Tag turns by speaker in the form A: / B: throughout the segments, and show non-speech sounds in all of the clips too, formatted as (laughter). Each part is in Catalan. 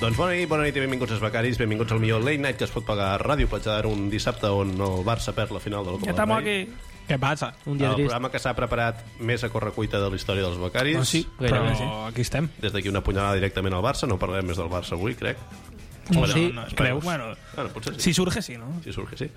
A: Doncs bona nit, bona nit i benvinguts als becaris, benvinguts al millor Late Night que es pot pagar a Ràdio Platja d'Aro un dissabte on el Barça perd la final de la
B: Ya
A: Copa del
B: estamos
A: Rei.
B: aquí.
C: Què passa?
A: Un dia el programa que s'ha preparat més a correcuita de la història dels becaris.
C: No, sí, però
D: gairebé,
C: sí. aquí estem.
A: Des d'aquí una punyalada directament al Barça, no parlarem més del Barça avui, crec.
C: No, sí,
B: no,
A: creus?
B: Bueno,
A: Bueno, potser sí.
B: si surge, sí, ¿no?
A: Si surt que sí.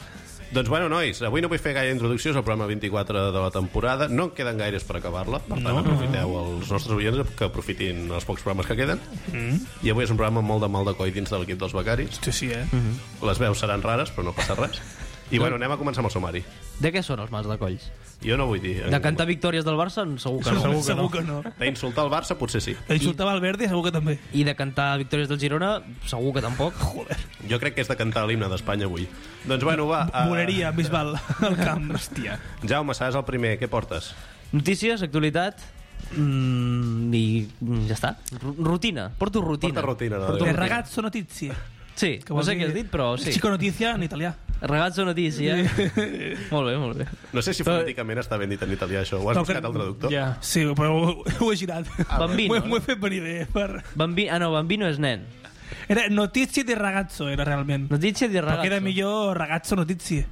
A: Doncs bueno, nois, avui no vull fer gaire introducció, és el programa 24 de la temporada, no en queden gaires per acabar-la, per tant, no. aprofiteu els nostres oients que aprofitin els pocs programes que queden. Mm. I avui és un programa amb molt de mal de coi dins de l'equip dels becaris.
B: Sí, sí, eh.
A: Les veus seran rares, però no passa res. I bueno, anem a començar amb el sumari.
D: De què són els mals de colls?
A: Jo no vull dir... eh,
D: De cantar victòries del Barça? Segur que no.
B: Segur, segur que no.
A: D'insultar el Barça, potser sí.
B: Insultaba al verde, segur que también.
D: I de cantar victòries del Girona? Segur que tampoc. Joder.
A: Jo crec que és de cantar l'himne d'Espanya avui. Doncs bueno, va... eh,
B: Morería, Bisbal, (laughs) al camp, hòstia.
A: Jaume, seràs el primer. Què portes?
D: Notícies, actualitat... Mm, I mm, ja està. Ru- Rutina. Porto rutina.
A: Porta rutina, no? Doncs
B: El ragazzo notizia.
D: Sí,
B: Que
D: no
B: vol
D: sé
B: dir-
D: què has dit, però sí.
B: Chico noticia en italià.
D: Ragazzo notícia. (laughs) molt bé, molt bé.
A: No sé si fonèticament està ben dit en italià, això. Ho has
B: No,
A: buscat
B: que-
A: al traductor?
C: Ja.
B: Sí, però ho, ho he girat.
D: Ah, Bambino,
B: M'ho he- M'ho he fet venir bé. Per...
D: Bambi... Ah, no, Bambino és nen.
B: Era notizie di ragazzo, era realment.
D: Notícia de
B: Però
D: ragazzo.
B: queda millor ragazzo notizie.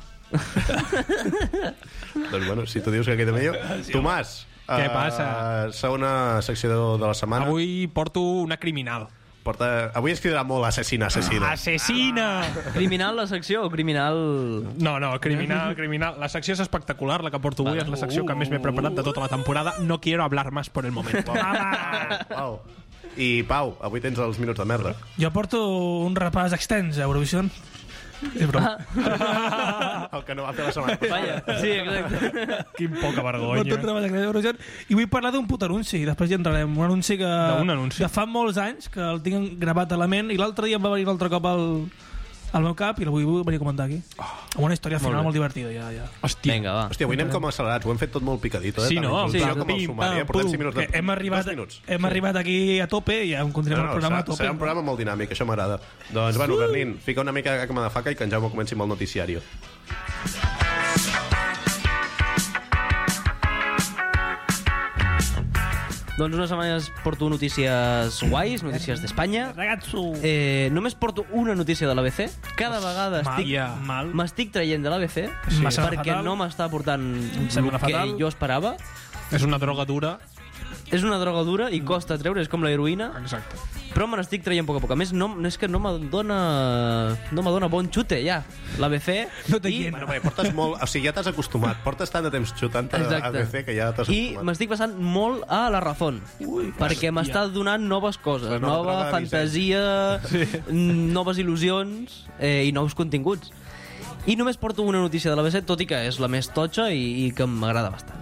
A: Doncs bueno, si tu dius que queda millor. Tomàs,
C: Què
A: eh,
C: passa?
A: Segona secció de, de la setmana. Avui...
C: Avui porto una criminal.
A: Porta... Avui es cridarà molt assassina,
C: Ah,
A: assassina.
C: Assassina!
D: Criminal la secció o
B: (laughs)
D: criminal...
C: No, no, criminal, criminal. La secció és espectacular, la que porto avui, és la secció que més m'he preparat de tota la temporada. No quiero hablar más por el momento.
B: Mama!
A: Pau. I Pau, avui tens els minuts de merda.
B: Jo porto un repàs extens a Eurovision. És broma.
A: Ah. El que no va fer la setmana passada.
D: Vaja, sí, exacte.
C: Quin
B: Porto un
C: poca vergonya.
B: repàs extens a Eurovision. I vull parlar d'un puto anunci. Després hi entrarem. Un anunci que...
C: D'un anunci?
B: De fa molts anys, que el tinc gravat a la ment. I l'altre dia em va venir un altre cop al, al meu cap i el vull vull venir a comentar aquí. Amb una història final molt, molt divertida, ja, ja.
C: Hòstia.
D: Vinga, va.
A: Hòstia, avui anem com accelerats, ho hem fet tot molt picadito, eh?
C: Sí, no?
A: Sí,
C: Sí,
A: com el
C: pim,
A: sumari, eh?
C: pam,
A: Portem
C: pum.
A: 5 minuts de...
B: Ah, Que hem arribat,
A: Dos minuts.
B: hem arribat aquí a tope i ja continuem
A: No,
B: el
A: no,
B: programa
A: serà,
B: a tope.
A: serà un programa molt dinàmic, això m'agrada. Doncs, bueno, Bernin, fica una mica de cama de faca i que en Jaume comenci amb el noticiari.
D: Doncs unes setmanes porto notícies guais, notícies d'Espanya.
B: Ragazzo!
D: Eh, només porto una notícia de l'ABC. Cada vegada estic...
C: Maia.
B: Mal.
D: M'estic traient de l'ABC
B: Sí. Em sembla
D: perquè
B: fatal.
D: no m'està aportant el
B: sembla
D: que
B: fatal.
D: jo esperava.
C: És una droga dura.
D: És una droga dura i costa treure, és com la heroïna,
C: Exacte.
D: però me n'estic traient a poc a poc. A més, no, és que no m'adona no m'adona bon xute, ja. L'ABC...
B: No te
D: i-
B: llena.
A: Bueno, perquè portes molt... O sigui, ja t'has acostumat. Portes tant de temps xutant a
D: Exacte.
A: ABC que ja t'has
D: I
A: acostumat.
D: m'estic passant molt a la Razón, Ui, perquè m'està donant noves coses,
A: La nova
D: nova
A: droga de
D: fantasia, sí. noves il·lusions eh, i nous continguts. I només porto una notícia de l'ABC, tot i que és la més totxa i, i que m'agrada bastant.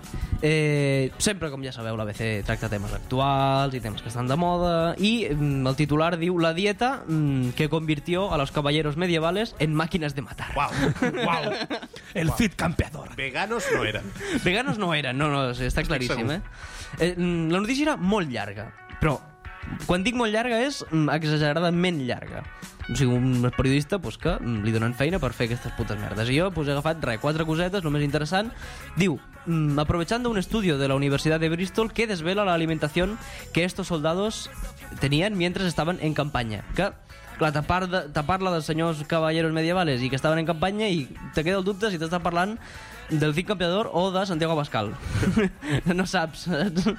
D: Eh, sempre, com ja sabeu, l'ABC tracta temes actuals i temes que estan de moda i mm, el titular diu La dieta mm, que convirtió a los caballeros medievales en màquines de matar.
A: Uau,
B: Wow. El fit campeador.
A: veganos no eren.
D: Veganos no eren, no, no, està claríssim, eh?
A: segur.
D: eh? mm, La notícia era molt llarga, però quan dic molt llarga és mm, exageradament llarga. O sigui, un periodista pues, que mm, li donen feina per fer aquestes putes merdes. I jo pues, he agafat re, quatre cosetes, el més interessant. Diu, mm, aprovechando un estudio de la Universidad de Bristol que desvela la alimentación que estos soldados tenían mientras estaban en campaña. Que clar, te, par de, te parla dels senyors cavalleros medievales i que estaven en campanya i te queda el dubte si t'està parlant del Cid Campeador o de Santiago Abascal. (laughs) no saps. saps?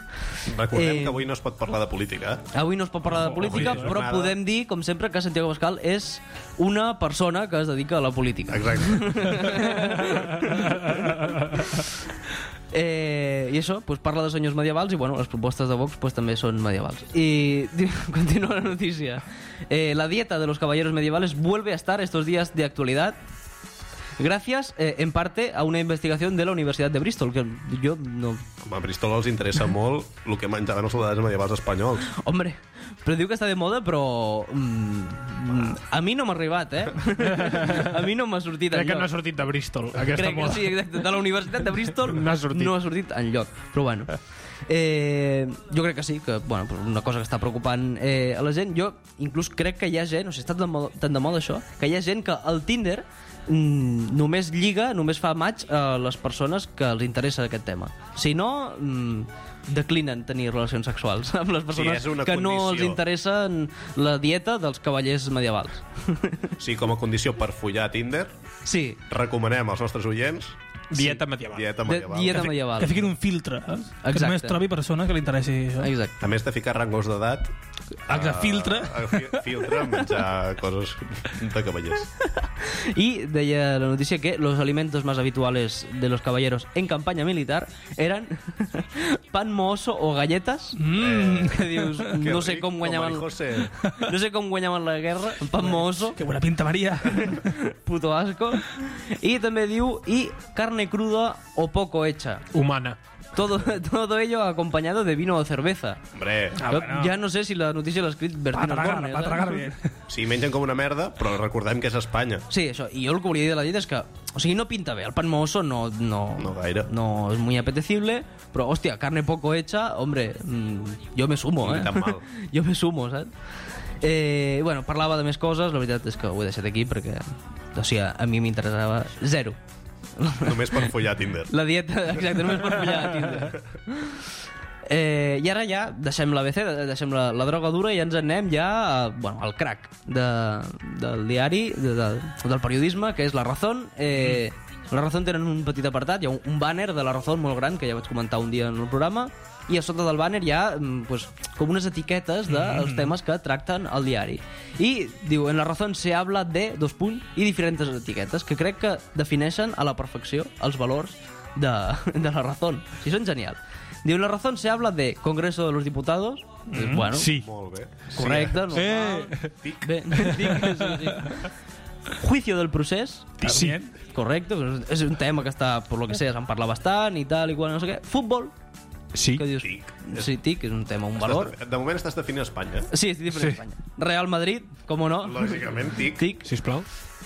A: Recordem
D: Eh,
A: que avui no es pot parlar de política. eh?
D: Avui no es pot parlar de política,
A: avui és
D: però
A: jornada.
D: podem dir, com sempre, que Santiago Abascal és una persona que es dedica a la política.
A: Exacte.
D: Eh, I això, doncs parla de senyors medievals i bueno, les propostes de Vox pues, també són medievals. I (laughs) di- continua la notícia. Eh, la dieta de los caballeros medievales vuelve a estar estos días de actualidad gracias, eh, en parte, a una investigación de la Universidad de Bristol, que yo no...
A: Home, a Bristol els interessa molt el que menjaven els soldats medievals espanyols.
D: Hombre, però diu que està de moda, però... Mm, mm, a mi no m'ha arribat, eh? (laughs) a mi no m'ha sortit
C: Crec que
D: enlloc.
C: no ha sortit de Bristol, aquesta
D: Crec que
C: moda.
D: sí, exacte. De la Universitat de Bristol
C: No ha sortit.
D: no ha sortit enlloc. Però bueno, eh, jo crec que sí, que bueno, però una cosa que està preocupant eh, a la gent. Jo inclús crec que hi ha gent, o sigui, està tan de moda, tan de moda això, que hi ha gent que el Tinder mm, només lliga, només fa maig a les persones que els interessa aquest tema. Si no, mm, declinen tenir relacions sexuals amb les persones
A: és una
D: que no
A: condició.
D: els interessen la dieta dels cavallers medievals.
A: Sí, com a condició per follar a Tinder,
D: Sí,
A: recomanem als nostres oients
C: Dieta medieval.
A: dieta
D: de
A: medieval.
D: dieta medieval.
B: Que fiquin un filtre, eh?
D: Exacte.
B: Que només trobi persones que li interessi això.
D: Exacte.
A: A més de ficar rangos d'edat...
D: Ah,
B: Exacte,
A: eh,
B: filtre.
A: eh, fi- filtre, menjar coses de cavallers.
D: Y deia la noticia que los alimentos más habituales de los caballeros en campaña militar eran
B: (laughs)
D: pan mohoso o galletas.
B: Mm,
D: Que
B: (laughs)
D: dius,
A: Eh, Que
D: no sé
A: ric, com
D: com
A: el
D: guanyaven...
A: José.
D: (laughs) No sé com guanyaven la
B: (laughs)
D: guerra. Pan mohoso,
B: que bona pinta, Maria.
D: puto asco. I també diu, i carne cruda o poco hecha.
C: Humana.
D: Todo, (laughs) todo ello acompañado de vino o cerveza.
A: Hombre,
D: Jo ja no sé si la notícia l'ha escrit
B: Pa
D: Bertino
B: Ah, tragar,
D: Osborne.
B: pa
D: saps?
B: tragar bien.
A: sí, mengen com una merda, però recordem que és Espanya.
D: Sí, això. I jo el que volia dir de la dieta és que... O sigui, no pinta bé. El pan mohoso no... No,
A: No gaire.
D: No és muy apetecible, però, hòstia, carne poco hecha, hombre, mm, jo me sumo,
A: Ni
D: eh?
A: tan mal.
D: (laughs) jo me sumo, saps? Eh, bueno, parlava de més coses, la veritat és que ho he deixat aquí perquè... O sigui, a mi m'interessava zero.
A: Només per follar a Tinder.
D: La dieta, (laughs) exacte, només per follar a Tinder. Eh, I ara ja deixem l'ABC, deixem la, la droga dura i ens en anem ja a, bueno, al crack de, del diari, de, de, del periodisme, que és La Razón. Eh, la Razón tenen un petit apartat, hi ha un, un banner de La Razón molt gran, que ja vaig comentar un dia en el programa, i a sota del banner hi ha mm, pues, com unes etiquetes dels temes que tracten el diari. I diu, en La Razón se habla de, dos punts, i diferents etiquetes, que crec que defineixen a la perfecció els valors de, de La Razón. Sí, són genials. Diu, en La Razón se habla de Congreso de los Diputados, mm, bueno,
C: Sí.
A: Molt bé.
D: correcte, no. Ah.
C: Eh,
D: Bé, dic que sí, sí. Juicio del procés,
C: sí.
D: correcte, pues, és un tema que està, per lo que sé, se'n parla bastant i tal i qual, no sé què. Futbol,
C: Sí.
D: que dius...
A: Tic.
D: Sí, tic, és un tema, un valor.
A: Estàs- De moment estàs definint Espanya. eh?
D: Sí, estic diferent
C: Sí.
D: sí. Espanya. Real Madrid, com o no.
A: Lògicament, tic,
D: Tic.
C: Sisplau.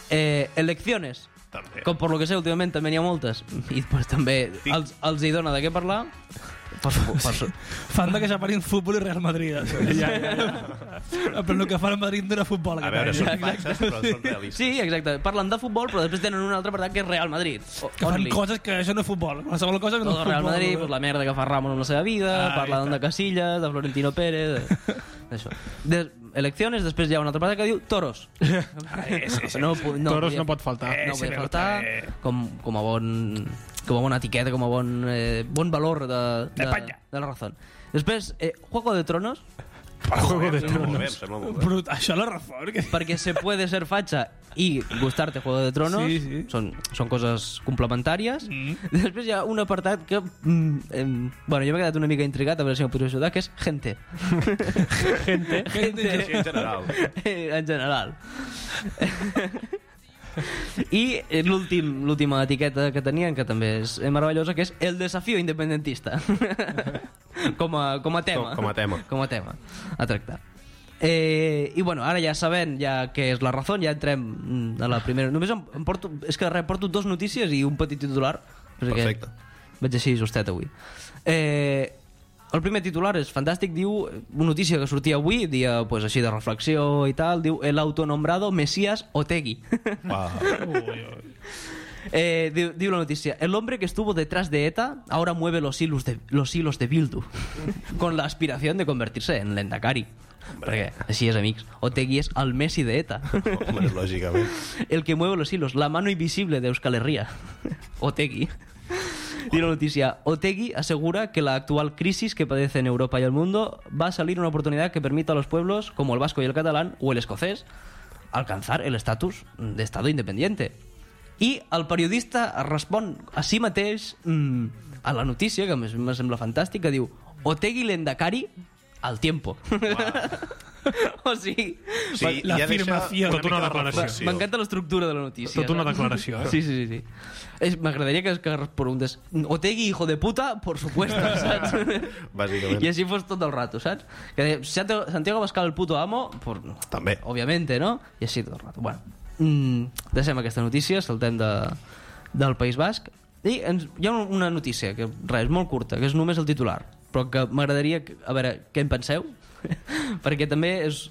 D: Eh, elecciones.
A: també.
D: Com per lo que sé, últimament també n'hi ha moltes. I pues, també
A: Eh. Tic.
D: els, els hi dona de què parlar. Per, per,
B: Fan de que s'aparin futbol i Real Madrid. això. Però el que fan a Madrid no era futbol.
A: A
B: aquest
A: veure,
B: any.
A: són baixes, però són realistes.
D: Sí, exacte. Parlen de futbol, però després tenen un altre apartat que és Real Madrid. O-
B: que fan
D: only.
B: coses que això no és futbol. Qualsevol cosa que no
D: Tot
B: és
D: el Real
B: futbol. eh?
D: Madrid, pues, la merda que fa Ramon amb la seva vida,
B: Ah,
D: parlen de Casillas, de Florentino
B: (laughs)
D: Pérez, de- d'això. De... Elecciones, després hi ha una altra part que diu
B: (laughs)
D: toros.
B: Ah,
D: No, pu- no,
C: Toros
D: podia-
C: no pot faltar.
D: no podia faltar com, com a bon com a bona etiqueta, com a bon, eh, bon valor de, de,
B: España.
D: de la razón. Després, eh, Juego de Tronos,
C: Juego de
A: Sembla molt
C: Tronos.
A: bé, em sembla molt bé.
B: Brut, això la razón. Que...
D: perquè se puede ser facha i gustar-te Juego de Tronos,
B: Sí, sí.
D: Són, són coses complementàries. Després hi ha un apartat que... Mm, em, bueno, jo m'he quedat una mica intrigat, a veure si m'ho podré ajudar, que és gente.
C: Gente.
A: Sí, en
D: (laughs)
A: general.
D: Eh, en general. (laughs) I eh, l'últim l'última etiqueta que tenien, que també és eh, meravellosa, que és el desafío independentista. (laughs) com, a, com a tema.
A: Com- com a tema.
D: Com a tema a tractar. Eh, I bueno, ara ja sabent ja què és la raó, ja entrem mm, a la primera. Només em, em porto, és que res, porto dos notícies i un petit titular. perquè
A: Perfecte.
D: Vaig així justet avui. Eh, el primer titular és fantàstic, diu, una notícia que sortia avui, dia pues, així de reflexió i tal, diu el autonombrado Mesías Otegui. (laughs)
A: Va.
D: eh, diu, diu la notícia, el hombre que estuvo detrás de ETA ahora mueve los hilos de, los hilos de Bildu, (laughs) con la aspiración de convertirse en Lendakari. Perquè així és, amics. Otegui és el Messi de ETA.
A: Home, lògicament.
D: (laughs) El que mueve los hilos, la mano invisible de Euskal Herria. (laughs) Otegi. Y la noticia, Otegi asegura que la actual crisis que padece en Europa y el mundo va a salir una oportunidad que permita a los pueblos, como el vasco y el catalán, o el escocés, alcanzar el estatus de Estado independiente. I el periodista respon a si mateix mm, a la notícia, que a més me sembla fantàstica, diu Otegi Lendakari al tiempo. (laughs) o sigui,
A: Sí,
B: La
A: ja deixa
B: afirmació.
A: una
C: Tot
A: mica
C: una
A: de
C: declaració.
A: reflexió.
D: M'encanta l'estructura de la notícia.
C: Tot una
D: saps?
C: declaració, eh?
D: Sí, sí, sí. sí. És- M'agradaria que, que preguntes Otegi, hijo de puta, por
C: (laughs)
D: supuesto, saps?
A: Bàsicament.
D: I així fos tot el rato, saps? Que deia, "Santiago- Santiago Abascal, el puto amo, por...
A: També.
D: Obviamente, no? I així tot el rato. Bueno, mm, deixem aquesta notícia, saltem de, del País Basc. I ens, hi ha una notícia, que res, molt curta, que és només (laughs) el titular, però que m'agradaria... que- A veure, què en penseu? Perquè també és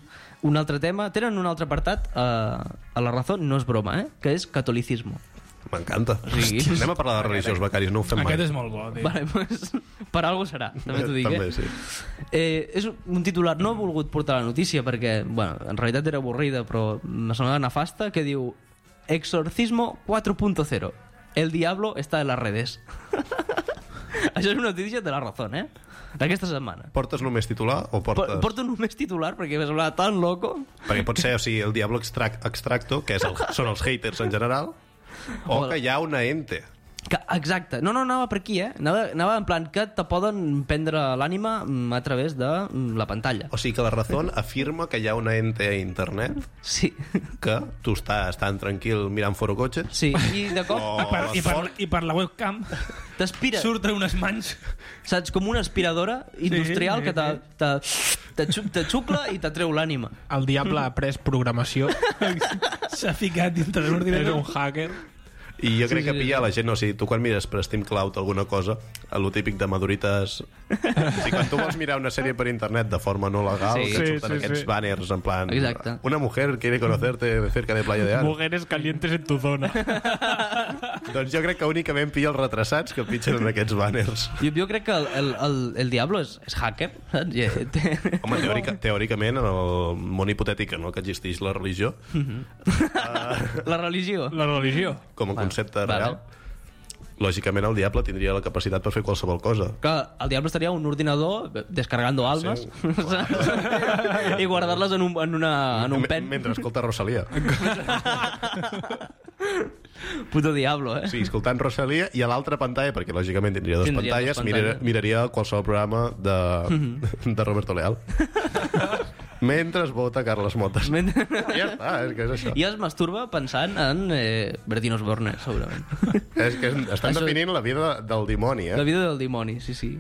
D: un altre tema, tenen un altre apartat a, a la Razón, no és broma, eh? que és catolicismo.
A: M'encanta.
D: sigui-
A: Anem a parlar de religiós, becaris, no ho fem mai.
B: Aquest és molt bo, tio.
D: Vale, pues, per algo serà, també t'ho dic.
A: També,
D: eh?
A: sí.
D: Eh, és un titular, no he volgut portar la notícia perquè, bueno, en realitat era avorrida, però me semblava nefasta, que diu Exorcismo 4.0. El diablo està en las redes. (laughs) Això és una notícia de la razón, eh? D'aquesta setmana.
A: Portes només titular o portes...
D: Por- Porto només titular perquè m'ha semblat tan loco.
A: Perquè pot ser, o sigui, el Diablo extract, Extracto, que és el, són els haters en general, o que hi ha una ente.
D: Que, exacte. No, no, anava per aquí, eh? Anava, anava en plan que te poden prendre l'ànima mm, a través de mm, la pantalla.
A: O sigui que la Razón afirma que hi ha una ente a internet
D: Sí, (laughs)
A: que tu estàs tan tranquil mirant forocotxes
D: sí. I de cop
A: o
B: I per, i, per, I per la webcam
D: t'aspira.
B: surten unes mans
D: Saps? Com una aspiradora industrial
B: sí,
D: que te, te, te, xu- te xucla i te treu l'ànima.
C: El diable ha après programació.
B: s'ha ficat dintre d'un
C: és
B: ordinador.
C: un hacker.
A: i jo crec que pilla la gent, o sigui, tu quan mires per Steam Cloud alguna cosa, el típic de madurites... O sigui, quan tu vols mirar una sèrie per internet de forma no legal,
D: Sí.
A: que et
C: Sí,
A: surten
C: sí,
A: aquests
C: sí.
A: banners en plan...
D: Exacte.
A: Una mujer quiere conocerte cerca de Playa de Aro.
C: Mujeres calientes en tu zona.
A: Doncs jo crec que únicament pilla els retrasats que pitgen en aquests banners.
D: Jo, jo crec que el, el, el, el Diablo és, és hacker, saps? I, eh, té...
A: Home, teòrica, teòricament, en el món hipotètic en el que existeix la religió,
D: La religió.
C: La religió.
A: com a concepte
D: vale.
A: real, lògicament el diable tindria la capacitat per fer qualsevol cosa.
D: Que el Diablo estaria a un ordinador descarregando almes (laughs) saps? i guardar-les en un, en una, en un
A: Me-
D: pen.
A: Mentre escolta Rosalia.
D: Puto Diablo, (laughs) eh?
A: Sí, escoltant Rosalia i a l'altra pantalla, perquè lògicament tindria dues
D: Tindria
A: pantalles,
D: dues
A: miraria,
D: pantalles. Mhm.
A: miraria qualsevol programa de, de Roberto Leal. Mentre es vota Carles Motes.
D: Mentre-
A: Ja està, és que és això.
D: I es masturba pensant en eh, Bertino Osborne, segurament.
A: És que estan
D: Això-
A: definint la vida del dimoni, eh?
D: La vida del dimoni, sí, sí.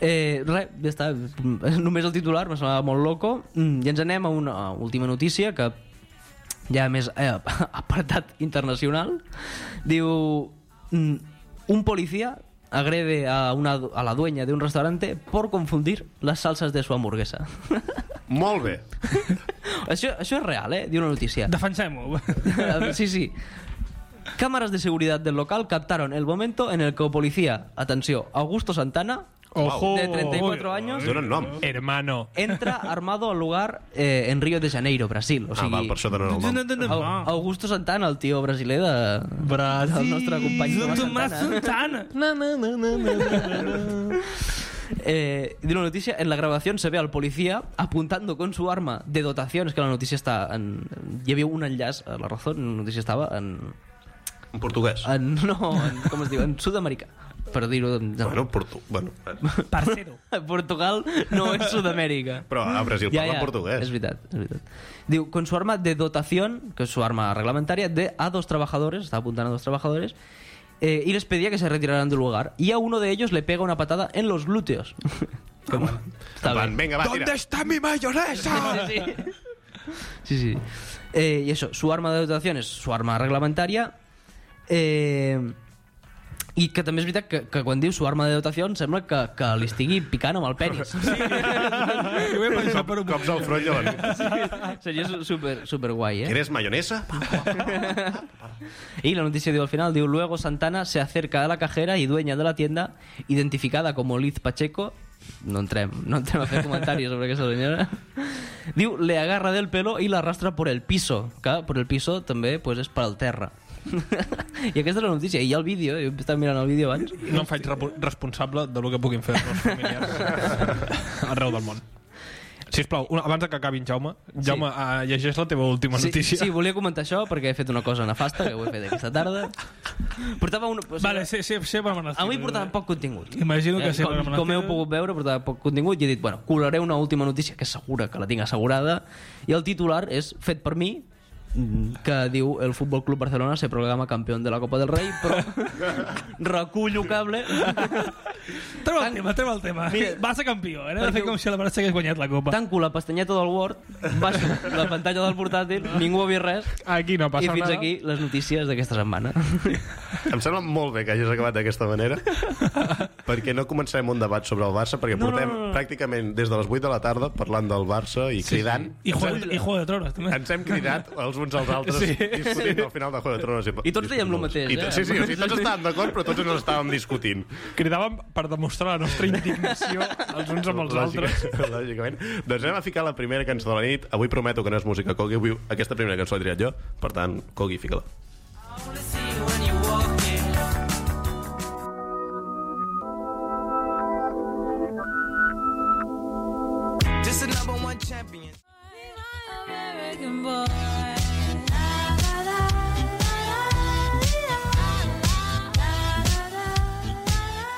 D: Eh, res, ja està. Només el titular m'ha semblat molt loco. Mm, I ens anem a una última notícia que ja més eh, (laughs) apartat internacional. Diu... mm, Un policía agrede a, una, a la dueña de un restaurante por confundir las salsas de su hamburguesa. (laughs)
A: Molt bé.
D: això, això és real, eh? Diu una notícia. (laughs)
B: Defensem-ho.
D: sí, sí. Cámaras de seguridad del local captaron el momento en el que policía, atención, Augusto Santana,
C: Ojo.
D: de 34 años,
A: Donen nom.
D: Eh,
C: Hermano.
D: entra armado al lugar eh, en Río de Janeiro, Brasil. O
A: Ah,
D: sigui,
A: val, per això donen el nom.
D: Au-
A: Ah.
B: Au,
D: Augusto Santana, el tio brasiler de... Brasil. (laughs) del nostre company Tomàs
B: Tomàs
D: Santana.
B: Santana.
D: Eh, de una noticia, en la grabación se ve al policía apuntando con su arma de dotación. Es que la noticia está en... Hi havia un enllaç, a la razón, la noticia estava en...
A: En portuguès.
D: en (laughs) no, en, com es diu? En sud-americà. Per dir-ho... en-
A: Bueno, portu... bueno,
B: Parcero.
D: Portugal no es Sudamérica.
A: però a Brasil parla portugués.
D: Es verdad, es verdad. Digo, con su arma de dotación, que es su arma reglamentaria, de a dos trabajadores, estaba apuntando a dos trabajadores, eh, y les pedía que se retiraran del lugar. Y a uno de ellos le pega una patada en los glúteos. Está
A: En plan,
D: bien.
A: Vinga, va, tira.
C: está mi mayonesa?
D: Sí, sí. sí. Eh, y eso, su arma de dotación es su arma reglamentaria. Eh, i que també és veritat que, que quan diu su arma de dotació em sembla que, que li estigui picant amb el penis. eh,
B: Ho he pensat per un moment.
A: Cops al front i a la nit.
D: (laughs) Seria su- super, super guai, eh?
A: ¿Quieres mayonesa?
D: Y la noticia dio al final, digo, luego Santana se acerca a la cajera y dueña de la tienda, identificada como Liz Pacheco, no entremos, no entremos a hacer comentarios sobre esa señora, diu, le agarra del pelo y la arrastra por el piso, que por el piso també pues, és per al terra. (laughs) I aquesta és la notícia, i hi ha el vídeo, jo estava mirant el vídeo abans,
C: No em faig repo- responsable de lo que puguin fer els meus
D: (laughs)
C: familiars arreu del món. Sisplau, una, abans de que acabin, Jaume, Jaume, sí. uh, llegeix la teva última
D: Sí,
C: notícia.
D: sí, volia comentar això perquè he fet una cosa nefasta que ho he fet aquesta tarda. Portava un... o sigui,
B: Vale, sé, sé, sé per menester.
D: Avui portava poc contingut.
B: Imagino que
D: Eh,
B: sí,
D: com,
B: però me
D: com heu
B: n'estic-
D: pogut veure, portava poc contingut i he dit, bueno, colaré una última notícia que segura que la tinc assegurada i el titular és fet per mi mm, que diu el Fútbol Club Barcelona se programa campeón de la Copa del Rei, però (laughs) recullo cable.
B: Treu el tema, treu el tema.
D: Mira-
B: (laughs) ¿eh? va ser campió. Era de
D: Perquè-
B: fer com si la Barça hagués guanyat la Copa.
D: Tanco la pestanyeta del Word, baixo la pantalla del portàtil, ningú ha vist res,
C: Aquí Ah, no
D: i
C: passa
D: fins
C: nada.
D: aquí les notícies d'aquesta setmana.
A: Em sembla molt bé que hagis acabat d'aquesta manera
D: (laughs)
A: perquè no comencem un debat sobre el Barça perquè
D: No, no,
A: portem
D: no, no.
A: pràcticament des de les 8 de la tarda parlant del Barça i cridant
B: I Juego, de- i juego de Tronos, també.
A: ens hem cridat els uns als altres sí. discutint al final de Juego de Tronos.
D: I tots dèiem lo mateix,
A: I tot,
D: eh?
A: Sí, sí, o sigui, tots estàvem d'acord, però tots ens estàvem discutint.
C: Cridàvem per demostrar la nostra indignació els uns amb els altres.
A: Lògic- (laughs) Lògicament. Doncs anem a ficar la primera cançó de la nit. Avui prometo que no és música Kogi, avui aquesta primera cançó l'he triat jo, per tant, Kogi, fica-la.
E: This is number one champion.
F: American boy. La, la, la, la, la, la, la, la, la,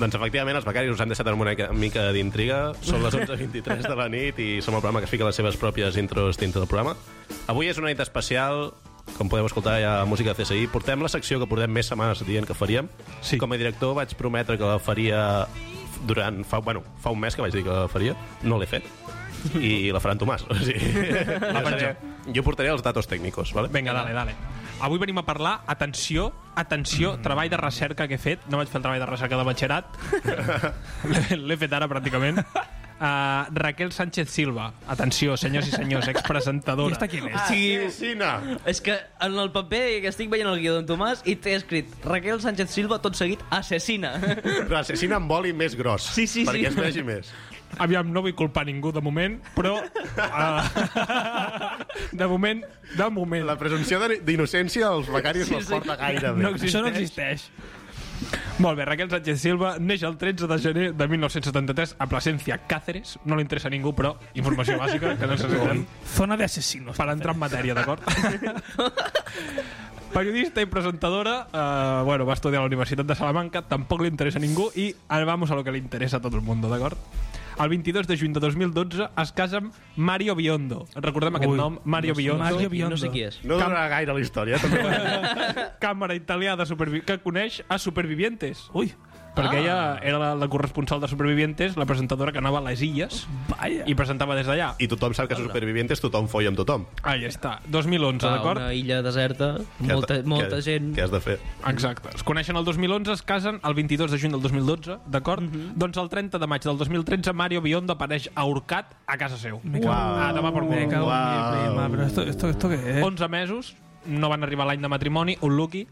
A: Doncs efectivament els becaris us han deixat amb una ca- mica d'intriga. Són les 11.23 de la nit i som el programa que es fica les seves pròpies intros dintre del programa. Avui és una nit especial, com podeu escoltar hi ha música de CSI. Portem la secció que portem més setmanes dient que faríem.
C: Sí.
A: Com a director vaig prometre que la faria durant... Fa, bueno, fa un mes que vaig dir que la faria. No l'he fet. I la farà en Tomàs. O sigui,
D: (laughs)
A: jo, seré, jo portaré els datos tècnicos, vale?
C: Vinga, dale, dale. Avui venim a parlar, atenció, atenció,
D: Mm.
C: treball de recerca que he fet. No vaig fer el treball de recerca de batxillerat.
D: (laughs)
C: L'he- L'he fet ara, pràcticament. Uh, Raquel Sánchez Silva. Atenció, senyors i
D: (laughs)
C: senyors, expresentadora.
B: I està quin és?
A: Ah, sí, sí, no.
D: És que en el paper que estic veient el guió d'en Tomàs i té escrit Raquel Sánchez Silva, tot seguit, assassina.
A: Però assassina amb boli més gros.
D: Sí, sí, sí.
A: perquè es vegi més.
C: Aviam, no vull culpar ningú de moment, però... Uh, (laughs) de moment, de moment.
A: La presumpció de- d'innocència als becaris sí,
D: Sí,
A: les
D: sí.
A: porta gaire bé.
C: No existeix.
B: Això no existeix.
C: Molt bé, Raquel Sánchez Silva neix el 13 de gener de 1973 a Plasencia, Cáceres. No li interessa a ningú, però informació bàsica que no ens necessitem.
B: Zona de asesinos.
C: per entrar en matèria, d'acord? (laughs) Periodista i presentadora, eh, bueno, va estudiar a la Universitat de Salamanca, tampoc li interessa a ningú i ara vamos a lo que li interessa a tot el mundo, d'acord? El 22 de juny de 2012 es casa amb Mario Biondo. Recordem aquest
B: Ui,
C: nom, Mario Biondo,
B: Mario
D: No
B: Biondo.
D: sé qui és.
A: No donarà gaire la història. eh,
C: (laughs)
A: També.
C: càmera italià de supervi que coneix a Supervivientes.
B: Ui,
D: Ah.
C: Perquè ella era la, la corresponsal de Supervivientes, la presentadora que anava a les illes
B: vaya.
C: i presentava des d'allà.
A: I tothom sap que a Supervivientes tothom folla amb tothom.
C: Ahí està, 2011,
D: Clar,
C: d'acord?
D: Una illa deserta, molta,
A: que,
D: molta
A: que,
D: gent...
A: Què has de fer?
C: Exacte. Es coneixen el 2011, es casen el 22 de juny del 2012, d'acord? Doncs el 30 de maig del 2013 Mario Biondo apareix ahorcat a casa seu. Ah, demà per
B: Me cago
C: cul.
B: en mi prima, però esto, esto, esto què és?
C: 11 mesos, no van arribar l'any de matrimoni, un lucky.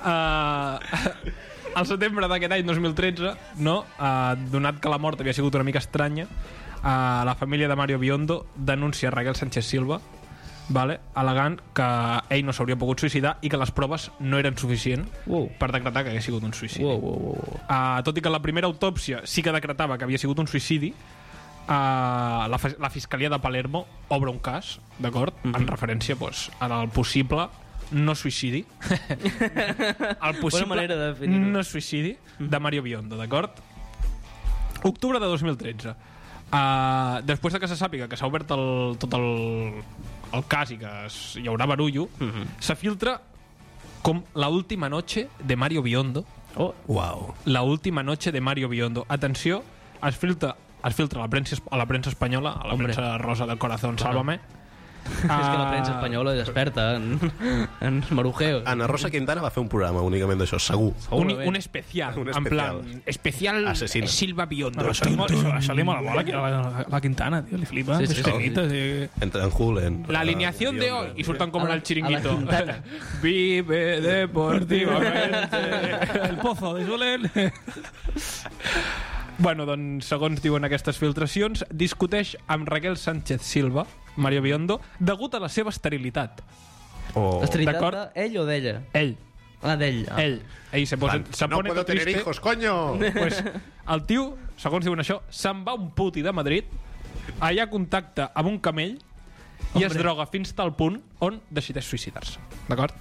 C: uh, al setembre d'aquest any 2013, no? Uh, donat que la mort havia sigut una mica estranya, uh, la família de Mario Biondo denuncia Raquel Sánchez Silva vale, al·legant que ell no s'hauria pogut suïcidar i que les proves no eren suficients
D: Uau.
C: per decretar que hagués sigut un suïcidi.
D: Uou, uou, uou, uou.
C: Uh, tot i que la primera autòpsia sí que decretava que havia sigut un suïcidi, uh, la, fa- la Fiscalia de Palermo obre un cas, d'acord? Mm
D: Mhm.
C: -hmm. En referència pues, al possible
D: (laughs)
C: no suïcidi. el possible
D: manera de definir-ho. Mhm.
C: no suïcidi de Mario Biondo, d'acord? Octubre de 2013. Uh, després de que se sàpiga que s'ha obert el, tot el, el cas i que es, hi haurà barullo, mm
D: Mhm.
C: -hmm. se filtra com la última noche de Mario Biondo,
D: Oh,
A: Uau.
C: la última noche de Mario Biondo. Atenció, es filtra, es filtra a, la premsa, a la premsa espanyola, a la
D: Hombre. (laughs)
C: premsa rosa del corazón, sálvame.
D: Ah. És que la premsa espanyola desperta en, (laughs) en marujeos.
A: Ana Rosa Quintana va fer un programa únicament d'això, segur.
C: Un,
D: Segurament.
C: un especial,
A: Un
C: en
A: especial.
C: plan, especial
A: Asesina.
C: Silva Biondo.
B: Però això, li, mola- això, això li mola molt, aquí, a la, a la Quintana, tio, li flipa.
D: Sí,
B: Sí,
D: sí,
B: sí,
D: sí.
B: sí.
A: Entre en Hulen.
C: La alineación de hoy. Y sueltan como
D: A
C: en
D: la-
C: el chiringuito.
D: Ah, a
B: (laughs)
D: la quintana.
C: Vive deportivamente.
B: El pozo de Julen.
C: bueno, doncs, segons diuen aquestes filtracions, discuteix amb Raquel Sánchez Silva, Mario Biondo, degut a la seva esterilitat.
A: Oh.
D: Esterilitat
C: D'acord.
D: d'ell o d'ella?
C: Ell,
D: Ah, d'ell. Ah.
C: ell. Ell se, posa, se
A: no
C: pone
A: puedo
C: todo
A: tener
C: triste.
A: hijos, coño!
C: (laughs) Pues, el tio, segons diuen això, se'n va a un puti de Madrid, allà contacta amb un camell i es droga fins tal punt on decideix suïcidar-se. D'acord?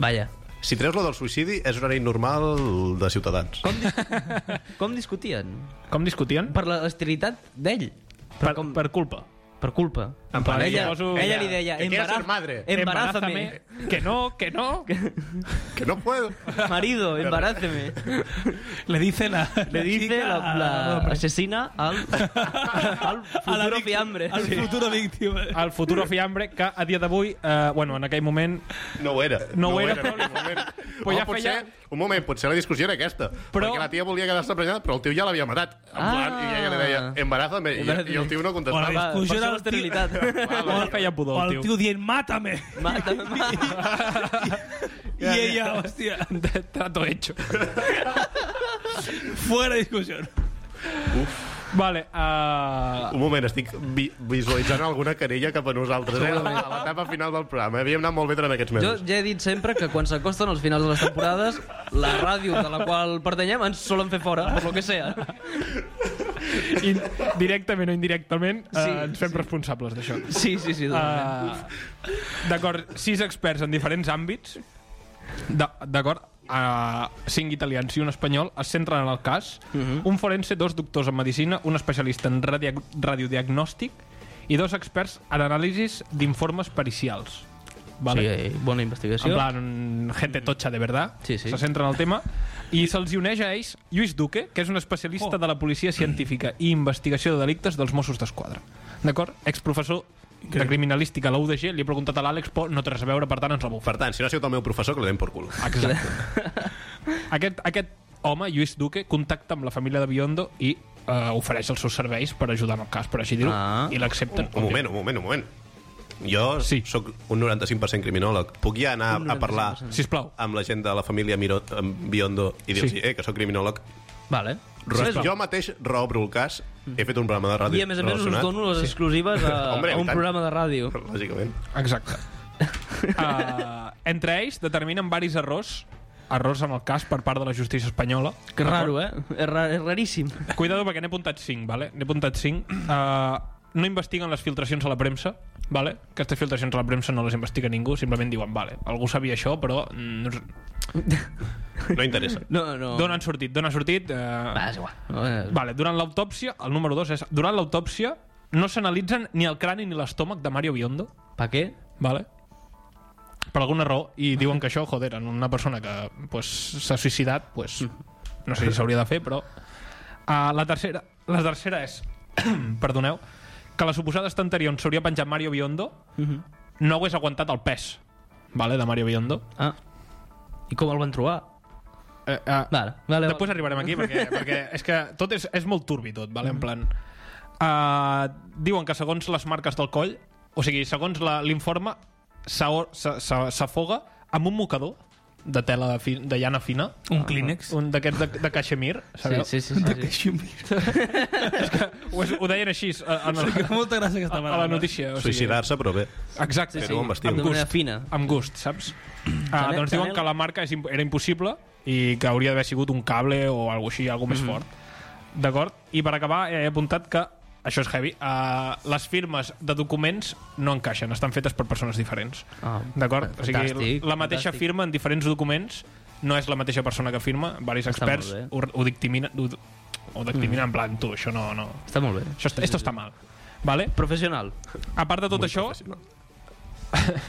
D: Vaja.
A: Si treus lo del suïcidi, és horari normal de Ciutadans. Com?
D: Com discutien?
C: Com discutien?
D: Per l'esterilitat d'ell.
C: Per,
D: com-
C: per culpa.
D: Per culpa.
B: Ah,
C: En plan,
D: ella,
C: suposo-
D: ella li deia...
A: Que quieras
D: "Embaraz-
A: ser madre."
D: Embarázame.
C: Que no, que no.
A: Que no puedo.
D: Marido, embarázame.
B: Le dice la...
D: Le dice
B: chica
D: la, la
B: a-
D: asesina al,
B: (laughs) a
D: al
B: la
D: futuro
B: víctima-
D: fiambre. Ah,
B: Al futuro
D: (laughs)
B: víctima.
C: El futuro fiambre que a dia d'avui, eh, bueno, en aquell moment,
A: No ho era.
C: No ho era, però-
A: en aquell moment.
C: Però ja
A: o potser,
C: feia-
A: Un moment, potser la discussió era aquesta.
C: Però-
A: Però... Perquè la tia volia quedar-se prenyada, però el tio ja l'havia matat. En
D: Ah.
A: plan, I ella li deia, embarázame. I,
D: Embarázame.
A: I el tio no
B: O la
A: contestava.
D: Va, per
B: discussió
D: ser
B: del tio- (laughs)
D: l'esterilitat.
C: no el feia pudor,
B: O
C: el
B: el
C: tio.
B: tio dient, mátame.
D: (laughs) Mata, mata.
B: I ella, hòstia,
C: Trato hecho.
B: (laughs) fuera discussió.
C: Vale, eh,
A: Ah. Un moment, estic vi visualitzant alguna querella cap a nosaltres. Eh? A la- a l'etapa final del programa. eh? Havíem anat molt bé durant aquests
D: Jo
A: mesos.
D: ja he dit sempre que quan s'acosten els finals de les temporades, la ràdio de la qual pertanyem ens solen fer fora, per lo que sea.
C: in, directament o indirectament, eh,
D: Sí,
C: ens fem responsables d'això.
D: Sí, sí, sí. Uh,
C: Ah, D'acord, sis experts en diferents àmbits. Da- D'acord, uh, cinc italians i un espanyol es centren en el cas. Un forense, dos doctors en medicina, un especialista en radia radiodiagnòstic i dos experts en anàlisis d'informes pericials. Vale.
D: Sí, eh, bona
C: En
D: investigació.
C: plan, gente tocha de verdad.
D: Sí, sí.
C: Se centra en el tema. I se'ls hi uneix a ells Lluís Duque, que és un especialista oh. de la policia científica i investigació de delictes dels Mossos d'Esquadra. D'acord? Exprofessor de criminalística a la UDG, li he preguntat a l'Àlex, però no té res a veure, per tant ens la bufa.
D: (laughs)
A: Per tant, si no ha sigut el meu professor, que li donem per cul.
C: Exacte. aquest, aquest home, Lluís Duque, contacta amb la família de Biondo i eh, ofereix els seus serveis per ajudar en el cas, per així dir-ho,
D: Ah.
C: i l'accepten.
A: Un moment, un moment, un moment. Jo sí.
C: Sí.
A: sóc un 95% criminòleg. Puc ja anar a parlar
C: Sisplau.
A: amb la gent de la família Miro, amb Biondo i dir-los,
C: Sí.
A: sí. eh, que sóc criminòleg.
D: Vale.
A: Res,
D: Res,
A: jo mateix reobro el cas. He fet un programa de ràdio
D: I a més a més us
A: relacionat.
D: dono les exclusives a,
A: (laughs) Hombre,
D: a un
A: i tant.
D: programa de ràdio.
A: Lògicament.
C: (laughs) Exacte. Uh, entre ells determinen varis errors errors en el cas per part de la justícia espanyola.
D: Que raro, eh? És, ra és raríssim.
C: Cuidado perquè n'he apuntat 5, vale? N'he apuntat 5. Uh, no investiguen les filtracions a la premsa, vale? Aquestes filtracions a la premsa no les investiga ningú, simplement diuen, vale, algú sabia això, però mm,
A: No interessa.
D: No, no.
C: d'on han sortit? D'on ha sortit? Uh,
D: Va, és igual. No, eh,
C: Vale, durant l'autòpsia, el número 2 és... Durant l'autòpsia no s'analitzen ni el crani ni l'estómac de Mario Biondo,
D: Eh, Pa què?
C: Vale. Per alguna raó, i diuen que això, joder, en una persona que pues, s'ha suïcidat, pues, no sé si s'hauria de fer, però... Uh, la, tercera, la tercera és, (clears throat) perdoneu, que la suposada estanteria on s'hauria penjat Mario Biondo no hagués aguantat el pes vale, de Mario Biondo.
D: Ah. I com el van trobar?
C: Eh, eh,
D: Vale, vale.
C: Després arribarem aquí
D: (laughs)
C: perquè, perquè és que tot és, és molt turbi tot, vale? en
D: Mm.
C: plan uh, diuen que segons les marques del coll o sigui, segons la- l'informe s'ao- s'a- s'a- s'afoga amb un mocador de tela fi, de llana fina
B: Un clínex.
C: un d'aquests de, de caixemir sabeu?
D: Sí, sí, sí. sí, sí.
C: Ho, és- ho deien així eh, en
B: (laughs)
C: el,
B: Molta gràcia aquesta
C: a
B: paraula.
C: la notícia o sigui,
A: Suïcidar-se, però bé.
C: exacte,
A: Sí, sí. Ho envestim.
C: amb
D: De manera
C: gust
D: fina.
C: amb gust, saps? Ah,
D: Chanel-
C: doncs diuen
D: Chanel.
C: que la marca és, im- era impossible i que hauria d'haver sigut un cable o alguna així, algo
D: Mhm.
C: més fort. D'acord? I per acabar he apuntat que això és heavy. Uh, les firmes de documents no encaixen, estan fetes per persones diferents.
D: Ah,
C: D'acord? O sigui,
D: fantàstic,
C: la mateixa
D: fantàstic.
C: firma en diferents documents no és la mateixa persona que firma, varis
D: Està
C: experts
D: molt Mhm.
C: ho, ho dictaminen, ho, ho dictaminen en plan, tu, això no... no.
D: Està molt bé.
C: Això, està, esto està mal. Vale?
D: Professional.
C: A part de tot això... (laughs)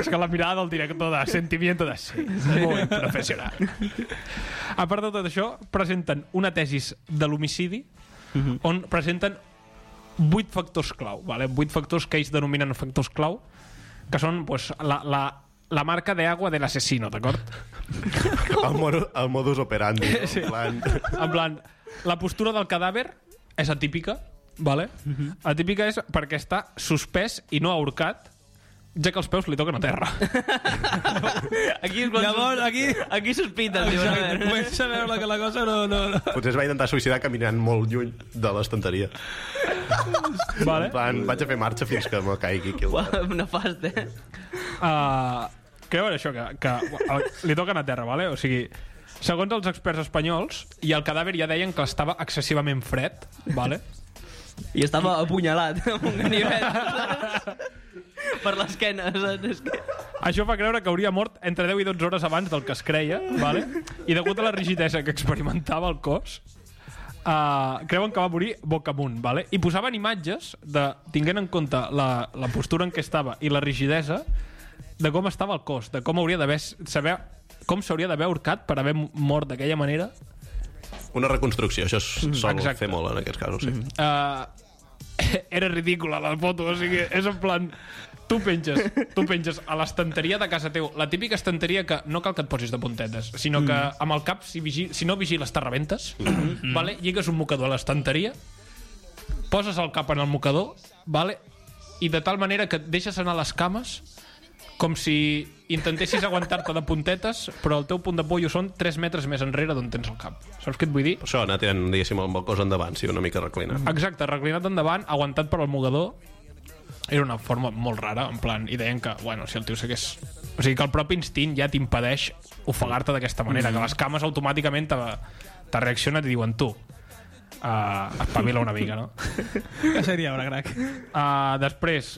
C: és que la mirada del director de sentimiento de ser molt professional. A part de tot això, presenten una tesis de l'homicidi on presenten vuit factors clau, vale? vuit factors que ells denominen factors clau, que són pues, la, la, la marca de agua de l'assassino, d'acord?
A: El, moro, el modus operandi. No? Sí. Plan...
C: En plan, la postura del cadàver és atípica, vale? Atípica és perquè està suspès i no ahorcat, ja que els peus li toquen a terra.
D: Aquí és quan...
B: Llavors, aquí...
D: Aquí sospites, diuen, a
B: Exacte,
D: veure...
B: comença a veure que la cosa no... no, no.
A: Potser es va intentar suïcidar caminant molt lluny de l'estanteria.
C: vale?
A: En plan, vaig a fer marxa fins que me caigui. Aquí. al terra.
D: Uau, nefast, eh?
C: Uh, que veure això, que, que el- li toquen a terra, vale? o sigui, segons els experts espanyols, i el cadàver ja deien que estava excessivament fred, vale?
D: I estava apunyalat (laughs) amb un ganivet. saps? per l'esquena, saps? És que...
C: Això fa creure que hauria mort entre 10 i 12 hores abans del que es creia, vale? i degut a la rigidesa que experimentava el cos, uh, creuen que va morir boca amunt. Vale? I posaven imatges, de, tinguent en compte la, la postura en què estava i la rigidesa, de com estava el cos, de com hauria d'haver saber com s'hauria d'haver ahorcat per haver mort d'aquella manera
A: Una reconstrucció, això es sol
C: Exacte.
A: fer molt en aquests casos, sí. Mm -hmm.
C: (laughs) uh, era ridícula la foto, o sigui, és en plan tu penges, tu penges a l'estanteria de casa teu, la típica estanteria que no cal que et posis de puntetes, sinó que amb el cap, si, vigi, si no vigiles, te rebentes vale? lligues un mocador a l'estanteria poses el cap en el mocador vale? i de tal manera que et deixes anar les cames com si intentessis aguantar-te de puntetes però el teu punt de pollo són 3 metres més enrere d'on tens el cap saps què et vull dir?
A: Això, anar tirant, diguéssim, el cos endavant, sí, una mica reclinat.
C: Exacte, reclinat endavant, aguantat per al mogador. Era una forma molt rara, en plan, i deien que, bueno, si el tio s'hagués... O sigui, que el propi instint ja t'impedeix ofegar-te d'aquesta manera, que les cames automàticament te, te reaccionen i et diuen tu, uh, espavila una mica, no?
B: Què seria ara, crac?
C: Uh, després,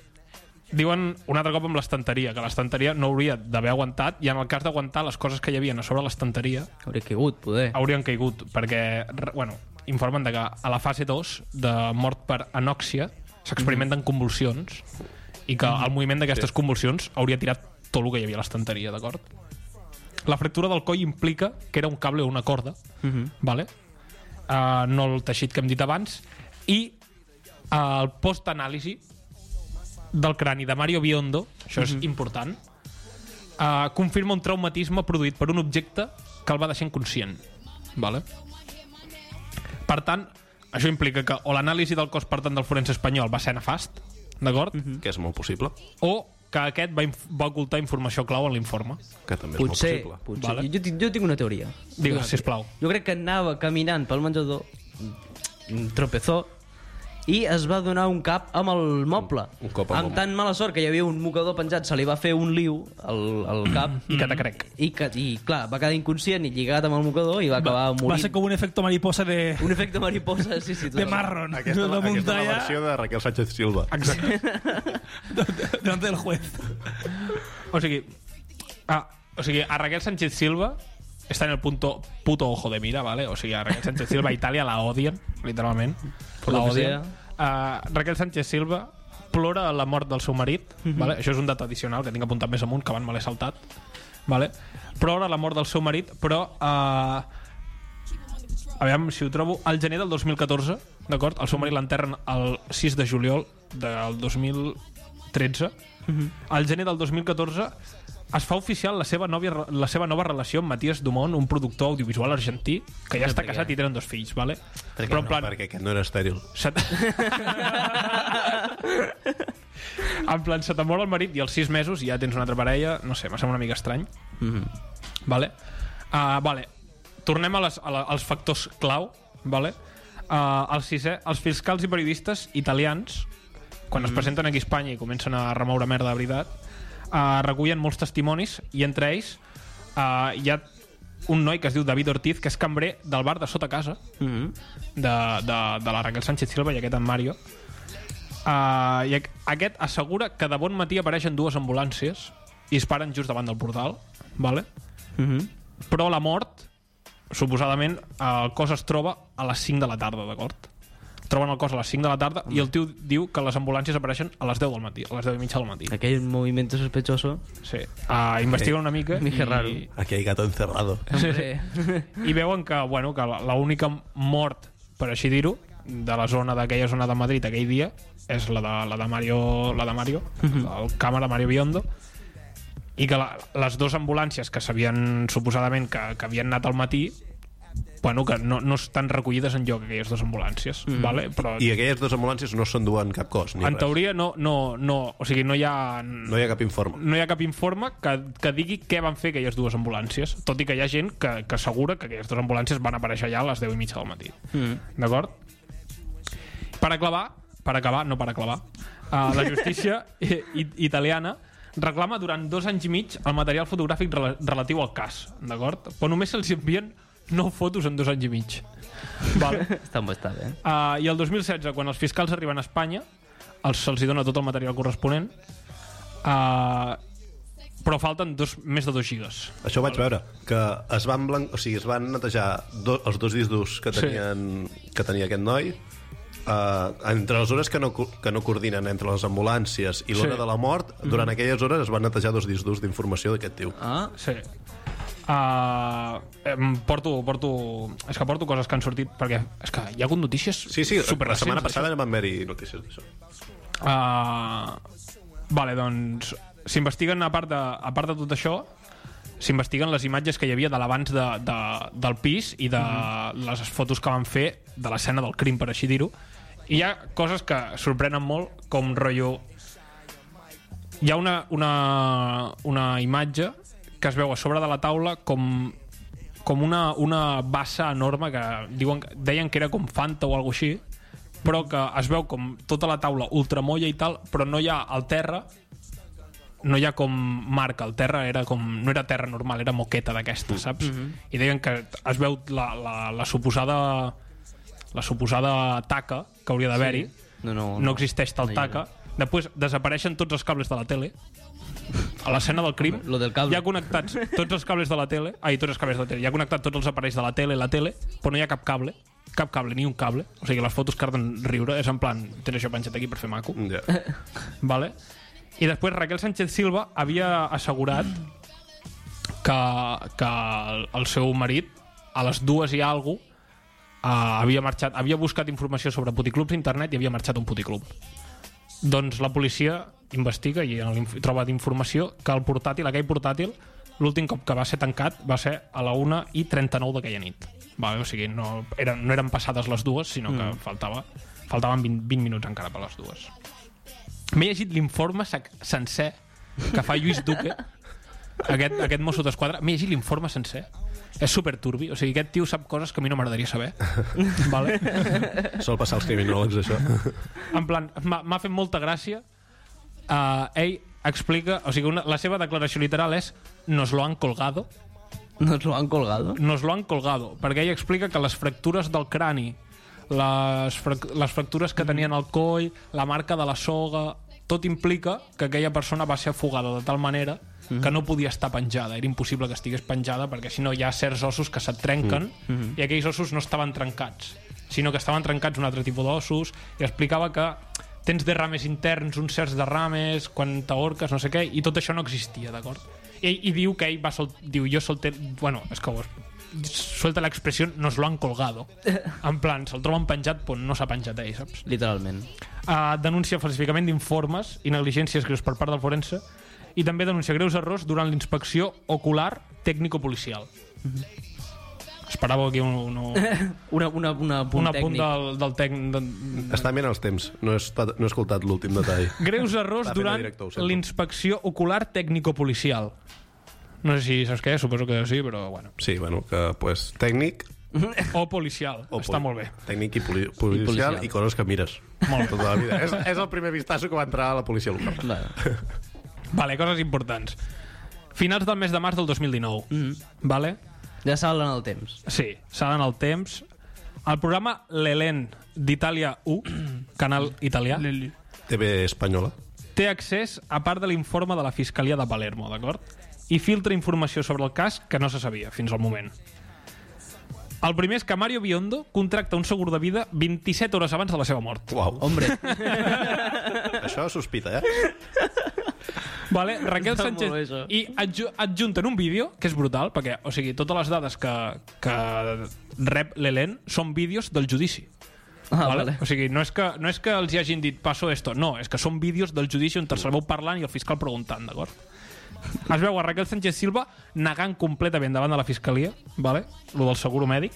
C: diuen un altre cop amb l'estanteria, que l'estanteria no hauria d'haver aguantat, i en el cas d'aguantar les coses que hi havia a sobre l'estanteria,
D: Hauria caigut, poder.
C: haurien caigut perquè, re- bueno, informen de que a la fase 2 de mort per anòxia s'experimenten convulsions i que el moviment d'aquestes convulsions hauria tirat tot el que hi havia a l'estanteria, d'acord? La fractura del coll implica que era un cable o una corda, vale? Uh, no el teixit que hem dit abans, i uh, el post-anàlisi del crani de Mario Biondo, això és important, uh, confirma un traumatisme produït per un objecte que el va deixar inconscient. Vale? Per tant, això implica que o l'anàlisi del cos per tant del forense espanyol va ser nefast, d'acord?
A: Que és molt possible.
C: O que aquest va, inf- va ocultar informació clau en l'informe.
A: Que també
D: Potser,
A: és molt possible.
D: potser.
C: Vale.
D: Jo, tinc- jo tinc una teoria.
C: Digues, sisplau.
D: Jo crec que anava caminant pel menjador, mm, tropezó, i es va donar un cap amb el moble.
A: Un cop al
D: amb
A: moble.
D: tan mala sort que hi havia un mocador penjat, se li va fer un liu al, al cap.
C: I que te crec.
D: I, que, I, clar, va quedar inconscient i lligat amb el mocador i va acabar morint.
B: Va ser com un efecte mariposa de,
D: Un efecte mariposa, sí, sí.
B: de
D: totalment.
B: marron.
A: Aquesta,
B: de
A: aquesta és la
B: muntanya
A: versió de Raquel Sánchez Silva.
C: Exacte.
B: (laughs) delante del juez.
C: O sigui, a, o sigui, a Raquel Sánchez Silva està en el punto puto ojo de mira, ¿vale? O sigui, a Raquel Sánchez Silva a Itàlia la odien, literalment.
D: Por
C: la
D: lo que
C: odien. Uh, Raquel Sánchez Silva plora la mort del seu marit,
D: Mhm.
C: ¿vale? Això és un dato addicional que tinc apuntat més amunt, que abans me l'he saltat. ¿Vale? Plora la mort del seu marit, però... Uh, aviam si ho trobo, al gener del 2014, d'acord? El seu marit l'enterren el 6 de juliol del 2013.
A: Mhm.
C: Al gener del 2014 es fa oficial la seva, nòvia, la seva nova relació amb Matías Dumont, un productor audiovisual argentí, que ja està casat i tenen dos fills, ¿vale? Però en plan...
A: Perquè aquest no era estèril.
C: Se t- (laughs) en plan, se t'amor el marit i als sis mesos ja tens una altra parella, no sé, m'ha semblat una mica estrany. Mm -hmm. Vale? Uh, vale. Tornem a les, a la, als factors clau, vale? Uh, el sisè, els fiscals i periodistes italians, quan es presenten aquí a Espanya i comencen a remoure merda de veritat, uh, recullen molts testimonis i entre ells uh, hi ha un noi que es diu David Ortiz, que és cambrer del bar de sota casa, de, de, de la Raquel Sánchez Silva i aquest en Mario uh, i aqu- aquest assegura que de bon matí apareixen dues ambulàncies i es paren just davant del portal vale?
D: Mhm.
C: però la mort suposadament el cos es troba a les 5 de la tarda d'acord? troben el cos a les 5 de la tarda i el tio diu que les ambulàncies apareixen a les 10 del matí, a les 10 i mitja del matí.
D: Aquell moviment sospechoso.
C: Sí. Uh, investiguen una mica
D: Ni que raro.
C: i,
A: Aquí hay gato encerrado.
D: Hombre.
C: i veuen que, bueno, que la- l'única mort, per així dir-ho, de la zona d'aquella zona de Madrid aquell dia és la de, la de Mario, la de Mario el càmera Mario Biondo i que la, les dues ambulàncies que s'havien suposadament que, que havien anat al matí bueno, que no, no estan recollides en lloc aquelles dues ambulàncies vale? però
A: I aquelles dues ambulàncies no s'enduen cap cos, ni
C: en
A: res.
C: teoria no, no, no, o sigui, no hi ha
A: No hi ha cap informe.
C: no hi ha cap informe que, que digui què van fer aquelles dues ambulàncies, tot i que hi ha gent que, que assegura que aquelles dues ambulàncies van aparèixer allà a les 10 i mitja del matí. Mm. D'acord? Per aclavar, per acabar, no per aclavar, uh, la justícia (laughs) i, i, italiana reclama durant dos anys i mig el material fotogràfic rela relatiu al cas, d'acord? Però només se'ls envien nou fotos en dos anys i mig. Vale.
D: Està, està bé.
C: Uh, I el 2016, quan els fiscals arriben a Espanya, els, se'ls hi dona tot el material corresponent, uh, però falten dos, més de 2 gigas.
A: Això ho vaig veure, que es van, blan... o sigui, es van netejar do... els dos discos que,
C: Sí.
A: tenien... que tenia aquest noi, Uh, entre les hores que no, co- que no coordinen entre les ambulàncies i l'hora
C: Sí. Mm-hmm.
A: sí. de la mort, durant aquelles hores es van netejar dos discs durs d'informació d'aquest tio. Ah.
C: Sí. Uh, em porto, porto... És que porto coses que han sortit, perquè és que hi ha hagut notícies
A: Sí, sí, la
C: superrecents
A: setmana
C: d'això.
A: passada ja van haver-hi notícies d'això.
C: Uh, vale, doncs s'investiguen a part de, a part de tot això s'investiguen les imatges que hi havia de l'abans de, de, del pis i de les fotos que van fer de l'escena del crim, per així dir-ho i hi ha coses que sorprenen molt com rotllo hi ha una, una, una imatge que es veu a sobre de la taula com com una, una bassa enorme que diuen, deien que era com Fanta o alguna així però que es veu com tota la taula ultramolla i tal, però no hi ha al terra no hi ha com marca, el terra era com, no era terra normal, era moqueta d'aquesta, saps? I deien que es veu la, la, la suposada la suposada taca que hauria d'haver-hi,
D: No, no,
C: no existeix tal taca. Després desapareixen tots els cables de la tele. A l'escena del crim
D: Lo del cable.
C: hi ha connectats tots els cables de la tele, ai, tots els cables de la tele, hi ha connectat tots els aparells de la tele, la tele, però no hi ha cap cable, cap cable, ni un cable. O sigui, les fotos carden riure, és en plan, tens això penjat aquí per fer maco. (laughs)
A: Ja.
C: Vale? I després Raquel Sánchez Silva havia assegurat que, que el- el seu marit a les dues i algo uh, havia marxat, havia buscat informació sobre puticlubs a internet i havia marxat a un puticlub. Doncs la policia investiga i en l'inf- troba d'informació que el portàtil, aquell portàtil, l'últim cop que va ser tancat va ser a la 1 i 39 d'aquella nit. Vale, o sigui, no eren, no eren passades les dues, sinó que faltava, faltaven 20, 20 minuts encara per les dues. M'he llegit l'informe sec- sencer que fa Lluís Duque, aquest, aquest mosso d'esquadra. M'he llegit l'informe sencer. És super turbi. O sigui, aquest tio sap coses que a mi no m'agradaria saber. vale?
A: Sol passar als criminòlegs, això.
C: En plan, m'ha m'ha fet molta gràcia. Uh, ell explica... O sigui, una, la seva declaració literal és nos lo han colgado
D: No ens lo han colgado?
C: nos lo han colgado, perquè ell explica que les fractures del crani, les, frac les fractures que tenien al coll, la marca de la soga, tot implica que aquella persona va ser afogada de tal manera que no podia estar penjada, era impossible que estigués penjada perquè si no hi ha certs ossos que se't trenquen i aquells ossos no estaven trencats sinó que estaven trencats un altre tipus d'ossos i explicava que tens derrames interns, uns certs derrames quan t'ahorques, no sé què, i tot això no existia d'acord? I, i diu que ell va sol, diu, jo solté, bueno, és que ho suelta l'expressió, nos lo han colgado en plan, se'l troben penjat però no s'ha penjat ell, saps?
D: Literalment.
C: Uh, denuncia falsificament d'informes i negligències greus per part del forense i també denuncia greus errors durant l'inspecció ocular tècnico-policial esperava aquí un, un, un,
D: Una, una, una punt
C: un apunt
D: tècnic.
C: del, del tècnic de,
A: Està bé en els temps. No he, estat, no he escoltat l'últim detall.
C: Greus errors
A: Va fent de
C: durant
A: director, ho sento.
C: l'inspecció ocular tècnico-policial. No sé si saps què, suposo que sí, però bueno.
A: Sí, bueno, que, pues, tècnic...
C: O policial,
A: O
C: està
A: poli-
C: molt bé.
A: Tècnic i poli policial, i
D: policial.
A: coses que mires. Molt tota la vida. És, és el primer vistazo que va entrar a la policia local.
D: Clar.
C: Vale, coses importants. Finals del mes de març del 2019. Mm -hmm. Vale?
D: Ja s'avalen el temps.
C: Sí, s'ha d'anar al temps. El programa L'Elen d'Itàlia 1, canal italià,
A: TV espanyola.
C: té accés a part de l'informe de la Fiscalia de Palermo, d'acord? I filtra informació sobre el cas que no se sabia fins al moment. El primer és que Mario Biondo contracta un segur de vida 27 hores abans de la seva mort.
A: Uau.
D: Hombre,
A: Això sospita, eh?
D: (laughs)
C: Vale? Raquel
D: Està molt bé,
C: Sánchez...
D: això.
C: I adju adjunten un vídeo, que és brutal, perquè o sigui, totes les dades que, que rep l'Elen són vídeos del judici. (laughs)
D: Ah, vale.
C: O sigui, no és, que, no és que els hi hagin dit passo esto, no, és que són vídeos del judici on te'ls veu parlant i el fiscal preguntant, d'acord? Es veu a Raquel Sánchez Silva negant completament davant de la fiscalia, vale? lo del seguro mèdic,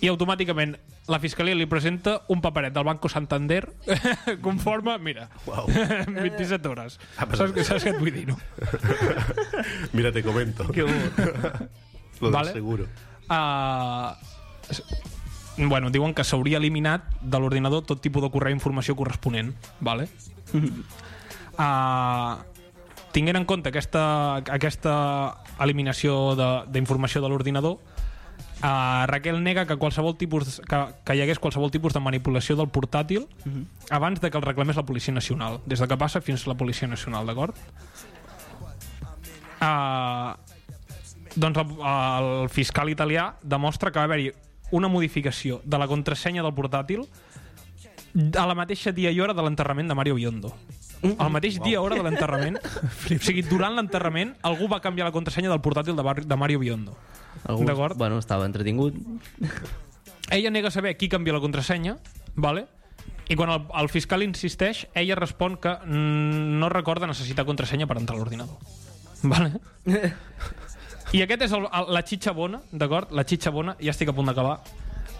C: i automàticament la fiscalia li presenta un paperet del Banco Santander (laughs) conforme, mira,
A: Uau.
D: Eh,
C: 27 hores.
D: Ah,
A: Ha passat.
C: Saps, que- saps què et vull dir, no?
A: Mira, te comento.
C: Que ho-
A: Lo del
C: Vale.
A: seguro.
C: Ah, s- bueno, diuen que s'hauria eliminat de l'ordinador tot tipus de correu i informació corresponent, vale? Uh, tinguent en compte aquesta, aquesta eliminació de- d'informació de, l'ordinador, uh, Raquel nega que qualsevol tipus que, que hi hagués qualsevol tipus de manipulació del portàtil abans de que el reclamés la Policia Nacional, des de que passa fins a la Policia Nacional, d'acord? Uh, doncs el, el fiscal italià demostra que va haver-hi una modificació de la contrasenya del portàtil a la mateixa dia i hora de l'enterrament de Mario Biondo. Al mateix dia i hora de l'enterrament, o sigui, durant l'enterrament, algú va canviar la contrasenya del portàtil de, Bar- de Mario Biondo.
D: Algú,
C: D'acord.
D: Bueno, estava entretingut.
C: Ella nega saber qui canvia la contrasenya, vale? i quan el, el fiscal insisteix, ella respon que mm, no recorda necessitar contrasenya per entrar a l'ordinador. Vale? I aquest és el, el, la xitxa bona, d'acord? La xitxa bona, ja estic a punt d'acabar.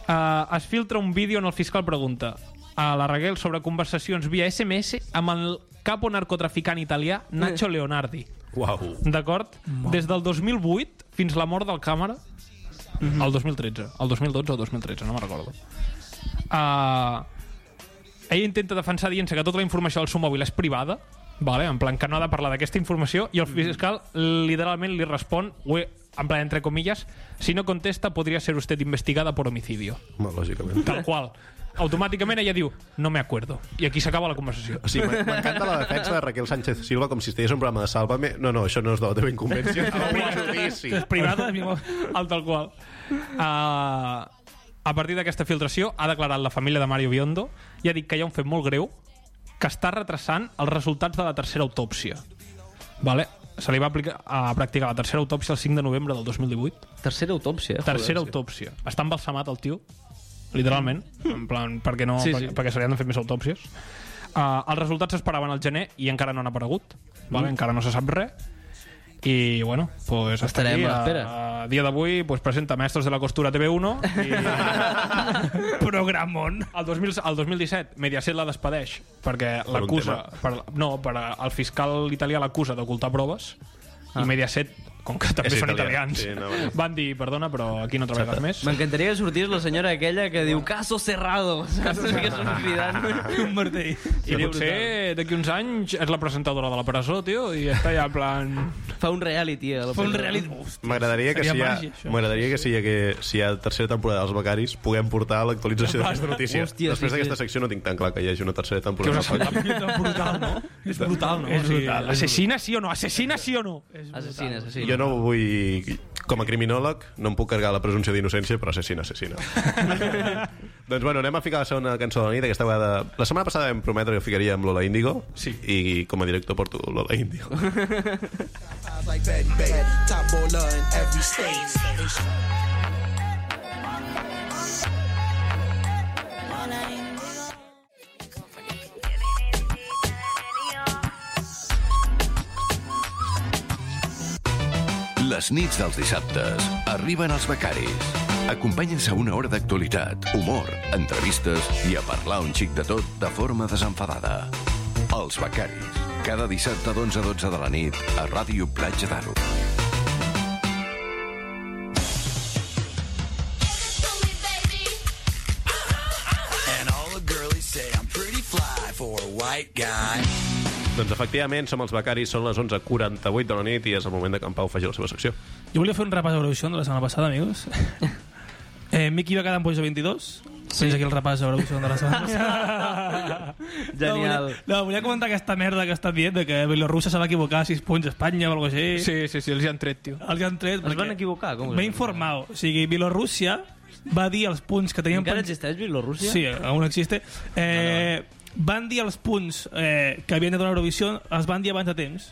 C: Uh, es filtra un vídeo on el fiscal pregunta a la Raquel sobre conversacions via SMS amb el capo narcotraficant italià Nacho Leonardi.
A: Uau.
C: D'acord? Des del 2008 fins la mort del càmera, el 2013. El 2012 o 2013, no me'n recordo. Uh, ell intenta defensar dient-se que tota la informació del seu mòbil és privada, vale? en plan que no ha de parlar d'aquesta informació, i el fiscal literalment li respon, ho he- en plan entre comillas, si no contesta podría ser usted investigada por homicidio.
A: Home, lògicament.
C: Tal qual. Automàticament ella diu, no me acuerdo. I aquí s'acaba la conversació.
A: O sigui, m'en- m'encanta la defensa de Raquel Sánchez Silva com si estigués en un programa de Sálvame. No, no, això no és de la teva inconvenció. és del meu judici.
B: És privada, mi mor.
C: El tal qual. Uh, a partir d'aquesta filtració ha declarat la família de Mario Biondo i ha dit que hi ha un fet molt greu que està retrasant els resultats de la tercera autòpsia. Vale? Se li va aplicar, a practicar la tercera autòpsia el 5 de novembre del 2018.
D: Tercera autòpsia. joder.
C: Tercera autòpsia. Està embalsamat el tio, literalment.
A: Mm.
C: En plan, perquè, no,
D: Sí,
C: sí,
D: sí.
C: sí. perquè se li han de fer més autòpsies. Uh, els resultats s'esperaven al gener i encara no han aparegut.
A: Mm.
C: Vale? Encara no se sap res. I, bueno, pues hasta
D: Estarem
C: aquí,
D: a l'espera.
C: A, a dia d'avui pues, presenta Maestros de la Costura
A: (laughs)
C: TV1 i
B: Programón.
C: el, 2000, el 2017 Mediaset la despedeix perquè
A: un
C: l'acusa... Per, no, per, el fiscal italià l'acusa d'ocultar proves i Mediaset, com que també
A: Ah. És
C: són
A: italià.
C: italians,
A: Sí, no, bueno.
C: van dir, perdona, però aquí no treballes més.
D: M'encantaria que sortís la senyora aquella que diu caso cerrado, saps? Que surt cridant. (laughs)
B: Un martell.
C: I potser d'aquí uns anys és la presentadora de la presó, tio, i està ja en plan...
D: Fa un reality. A la
B: Fa un
D: presó.
B: reality... Hosti.
A: M'agradaria que,
B: Seria
A: si hi ha,
B: màgia, això.
A: m'agradaria que, si hi ha, que si hi ha tercera temporada dels Becaris puguem portar l'actualització d'aquesta notícia.
D: Hòstia,
A: Després
D: sí,
A: d'aquesta
D: sí.
A: secció no tinc tan clar que hi hagi una tercera
C: Que us
A: temporada.
C: ha semblat brutal,
B: (laughs)
C: no? És brutal, no? És brutal. Assassina sí o no? Assassina sí o no?
D: Assassina, assassina.
A: Jo no vull... Com a criminòleg no em puc carregar la presumpció d'innocència, però assassina,
B: (laughs)
A: assassina. doncs bueno, anem a ficar la segona cançó de la nit. Aquesta vegada... La setmana passada vam prometre que ficaríem Lola Índigo
C: Sí.
A: i com a director porto Lola Índigo.
B: (laughs)
E: Like Betty Bay, top bowler in every state.
G: Les nits dels dissabtes arriben els becaris. Acompanyen-se a una hora d'actualitat, humor, entrevistes i a parlar un xic de tot de forma desenfadada. Els becaris. Cada dissabte d'11 a 12 de la nit a Ràdio Platja d'Aro.
E: And all the girlies say I'm pretty fly for a white guy.
A: Doncs efectivament, som els becaris, són les 11.48 de la nit i és el moment de que en Pau faci la seva secció.
B: Jo volia fer un repàs a Eurovision de la setmana passada,
D: (laughs)
B: amigos. Eh, Miki va quedar en posició 22. Sí. Fins aquí el repàs a Eurovision de la setmana passada. No,
D: (laughs) Genial.
B: volia, no, volia comentar aquesta merda que ha estat dient de que Bielorússia se va equivocar 6 punts a Espanya o alguna cosa així.
C: Sí, sí, sí, els hi han tret, tio.
B: Els han tret.
D: Es van equivocar? Com es
B: M'he
D: van
B: informat. O sigui, Bielorússia va dir els punts que tenien...
D: Encara
B: pens-
D: existeix Bielorússia?
B: Sí, aún existe. Eh, Van dir els punts eh, que havien de donar a Eurovisió, els van dir abans de temps.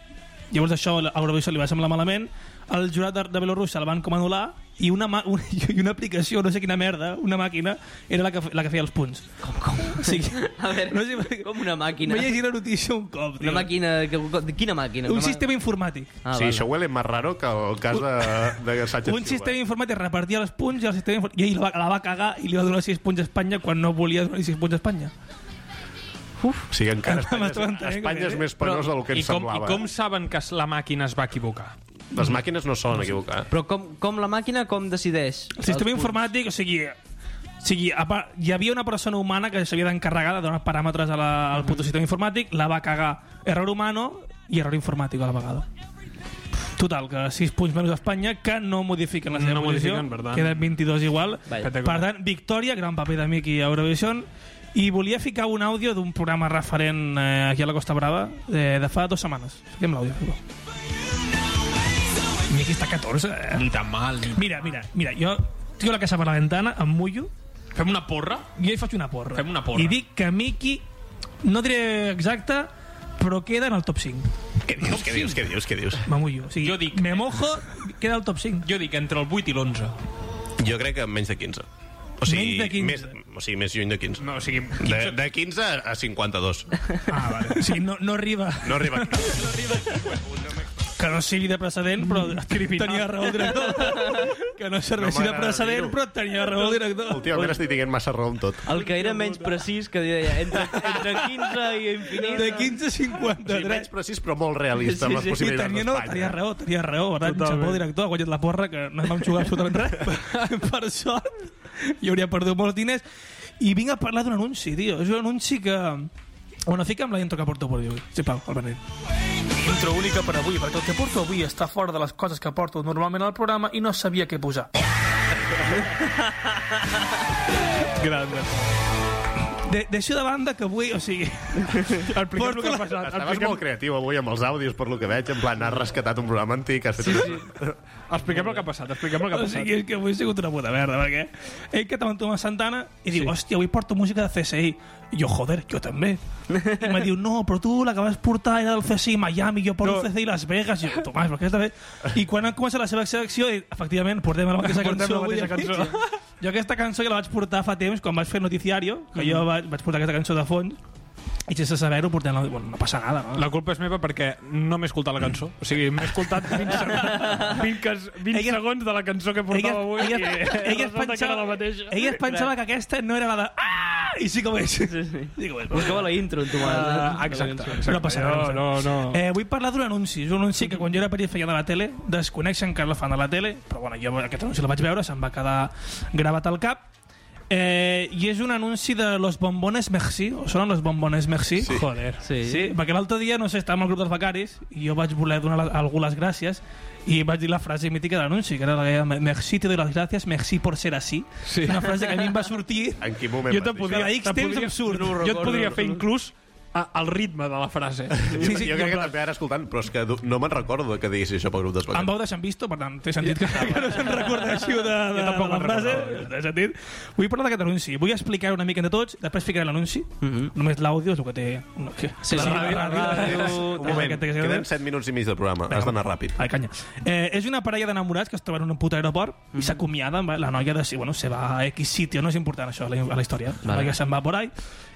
B: Llavors això a Eurovisió li va semblar malament, el jurat de, de Bielorússia el van com anul·lar i una, ma- (laughs) una, i una aplicació, no sé quina merda, una màquina, era la que, fe- la que feia els punts. Com, com? O sigui,
D: (laughs) A veure,
B: no sé,
D: com una màquina.
B: M'he llegit la notícia un cop, tio.
D: Una màquina... Que, quina màquina?
B: Un
D: Una mà-
B: sistema informàtic.
D: Ah,
A: sí,
D: val.
A: això huele más raro que el cas de, de Sánchez
B: un
A: Silva.
B: sistema informàtic repartia els punts i el sistema informàtic... I ell la va, la va cagar i li va donar 6 punts a Espanya quan no volia donar 6 punts a Espanya.
A: O sigui, encara Espanya,
B: M'estava
A: és-
B: entenent,
A: Espanya és
B: eh?
A: més penós del que
C: I
A: ens
C: com, I
A: semblava. eh?
C: com saben que la màquina es va equivocar?
A: Les màquines no solen equivocar. eh?
D: Però com, com la màquina com decideix?
B: El sistema
D: Els punts?
B: informàtic, o sigui... O sigui, a part, hi havia una persona humana que s'havia d'encarregar de donar paràmetres a la,
C: Mhm.
B: al puto sistema informàtic, la va cagar error humano i error informàtic a la vegada. Total, que 6 punts menys a Espanya que no modifiquen la seva
C: No
B: posició,
C: modifiquen, per tant.
B: queden 22 igual.
D: Vaja.
B: Per tant, victòria, gran paper de Miki a Eurovision. I volia ficar un àudio d'un programa referent eh, aquí a la Costa Brava eh, de fa dues setmanes. Fiquem l'àudio. si voleu. Miki està 14, eh?
C: Ni tan mal. Ni...
B: Mira, mira, mira, jo tiro la casa per la ventana, em mullo,
C: Fem una porra?
B: i jo hi faig una porra.
C: Fem una porra.
B: I dic que Miki, no diré exacte, però queda en el top 5.
A: Què dius, què dius, què dius, què dius?
B: Me mullo. O sigui,
C: Jo dic-
B: Me mojo, queda el top 5.
C: Jo dic entre el 8 i l'11.
A: Jo crec que menys de 15. O sigui,
B: Menys de 15.
A: Més, o sigui, més lluny de 15.
C: No, o sigui...
A: De, de 15 a 52.
B: Ah, vale. O sigui, no, no arriba,
A: (laughs) No arriba a 15.
B: que no sigui de precedent, però tenia raó el director. Mm. (laughs) Que no serveixi de
A: m'agrada
B: precedent,
A: dir-ho.
B: però tenia raó el director.
A: Últimament estic dient massa raó amb tot.
D: El que era menys precís, que deia entre, entre 15 i infinit...
B: De 15 a
A: O sigui,
B: 53.
A: menys precís, però molt realista amb les
B: Sí,
A: possibilitats
B: tenia, no, tenia
A: d'Espanya.
B: raó, tenia raó. Per tant, xapó, director, ha guanyat la porra, que no vam jugar absolutament res. per sort, jo hauria perdut molts diners. I vinc a parlar d'un anunci, tio. És un anunci que... Bueno, fica'm la intro que porto avui. Sisplau, el Benet. Intro única per avui, perquè el que porto avui està fora de les coses que porto normalment al programa i no sabia què posar.
C: Gran.
B: De, deixo de banda que avui, o sigui...
C: Expliquem el que ha passat.
A: Estaves molt creatiu avui amb els àudios, per lo que veig. En plan, has rescatat un programa antic, has fet sí, sí.
C: Expliquem el que ha passat, expliquem el que ha
B: O
C: passat.
B: sigui, és que avui he sigut una puta merda, perquè ell que t'aventó amb Santana i diu, hòstia, avui porto música de CSI. I jo, joder, jo també. I me diu, no, però tu la que vas portar era del CSI Miami, jo porto
C: No.
B: no. CSI Las Vegas. I jo, Tomàs, però què has de fer? I quan han començat la seva secció, he dit, efectivament, portem la mateixa
C: Portem la
B: cançó.
C: mateixa
B: avui
C: cançó.
B: aquí. Jo aquesta cançó ja la vaig portar fa temps, quan vaig fer Noticiario, que
C: Mm.
B: jo vaig, vaig portar aquesta cançó de fons, i sense saber-ho portem la... Bueno, no passa nada, no?
C: La culpa és meva perquè no m'he escoltat la cançó. O sigui, m'he escoltat 20, (laughs) segons, 20, cas- 20
B: Ella-
C: segons de la cançó que portava
B: ella,
C: avui
B: ella,
C: i
B: ella,
C: (laughs)
B: es pensava,
C: la mateixa.
B: ella es pensava que aquesta no era la de... Ah! I sí que ho és. Sí, (laughs)
D: sí.
B: que ho és.
D: Buscava la intro, tu,
C: Ah,
D: uh,
C: exacte, exacte.
B: No passa res.
C: No, no, no.
B: Eh, vull parlar d'un anunci. És un anunci que quan jo era petit feia de la tele, desconeixen que la fan de la tele, però bueno, jo aquest anunci el vaig veure, se'm va quedar gravat al cap. Eh, I és un anunci de Los Bombones Merci. O sonen Los Bombones Merci? Sí. Joder.
D: Sí.
B: sí. Perquè l'altre dia, no sé, estàvem al grup dels becaris i jo vaig voler donar a algú les gràcies i vaig dir la frase mítica de l'anunci, que era la que Merci, te doy las gracias, merci por ser así. Sí. Una frase que a mi em va sortir...
A: (laughs) En quin moment
C: Jo
A: vas
C: te'n
A: dir
C: podria,
B: Cada X
C: te'n
B: temps
C: podria-
B: absurd.
C: No ho
B: Jo et
C: recordo,
B: podria
C: no,
B: fer
C: no. inclús a- al ritme de la frase.
A: això?
B: Sí, sí,
A: jo crec
B: en
A: que
B: plan-
A: també ara escoltant, però és que du- no me'n recordo que diguessis això pel grup
B: Em
A: d'Espanya.
B: vau deixar en visto, per tant, té sentit que, (laughs) que no se'n recorda així de, de, de
C: tampoc
B: la
C: me'n
B: frase.
C: recordava,
B: Té sentit. Vull parlar d'aquest anunci. Vull explicar una mica entre tots, després ficaré l'anunci. Només l'àudio és el que té... No, que, sí,
D: sí, la ràdio,
A: Un moment, queden 7 minuts i mig de programa. Has d'anar ràpid.
B: Ai, canya. Eh, és una parella d'enamorats que es troben en un puto aeroport mm. i s'acomiaden. va, La noia de si, bueno, se va a X sitio, no és important això a la, a la història. Vale. La noia se'n va por ahí.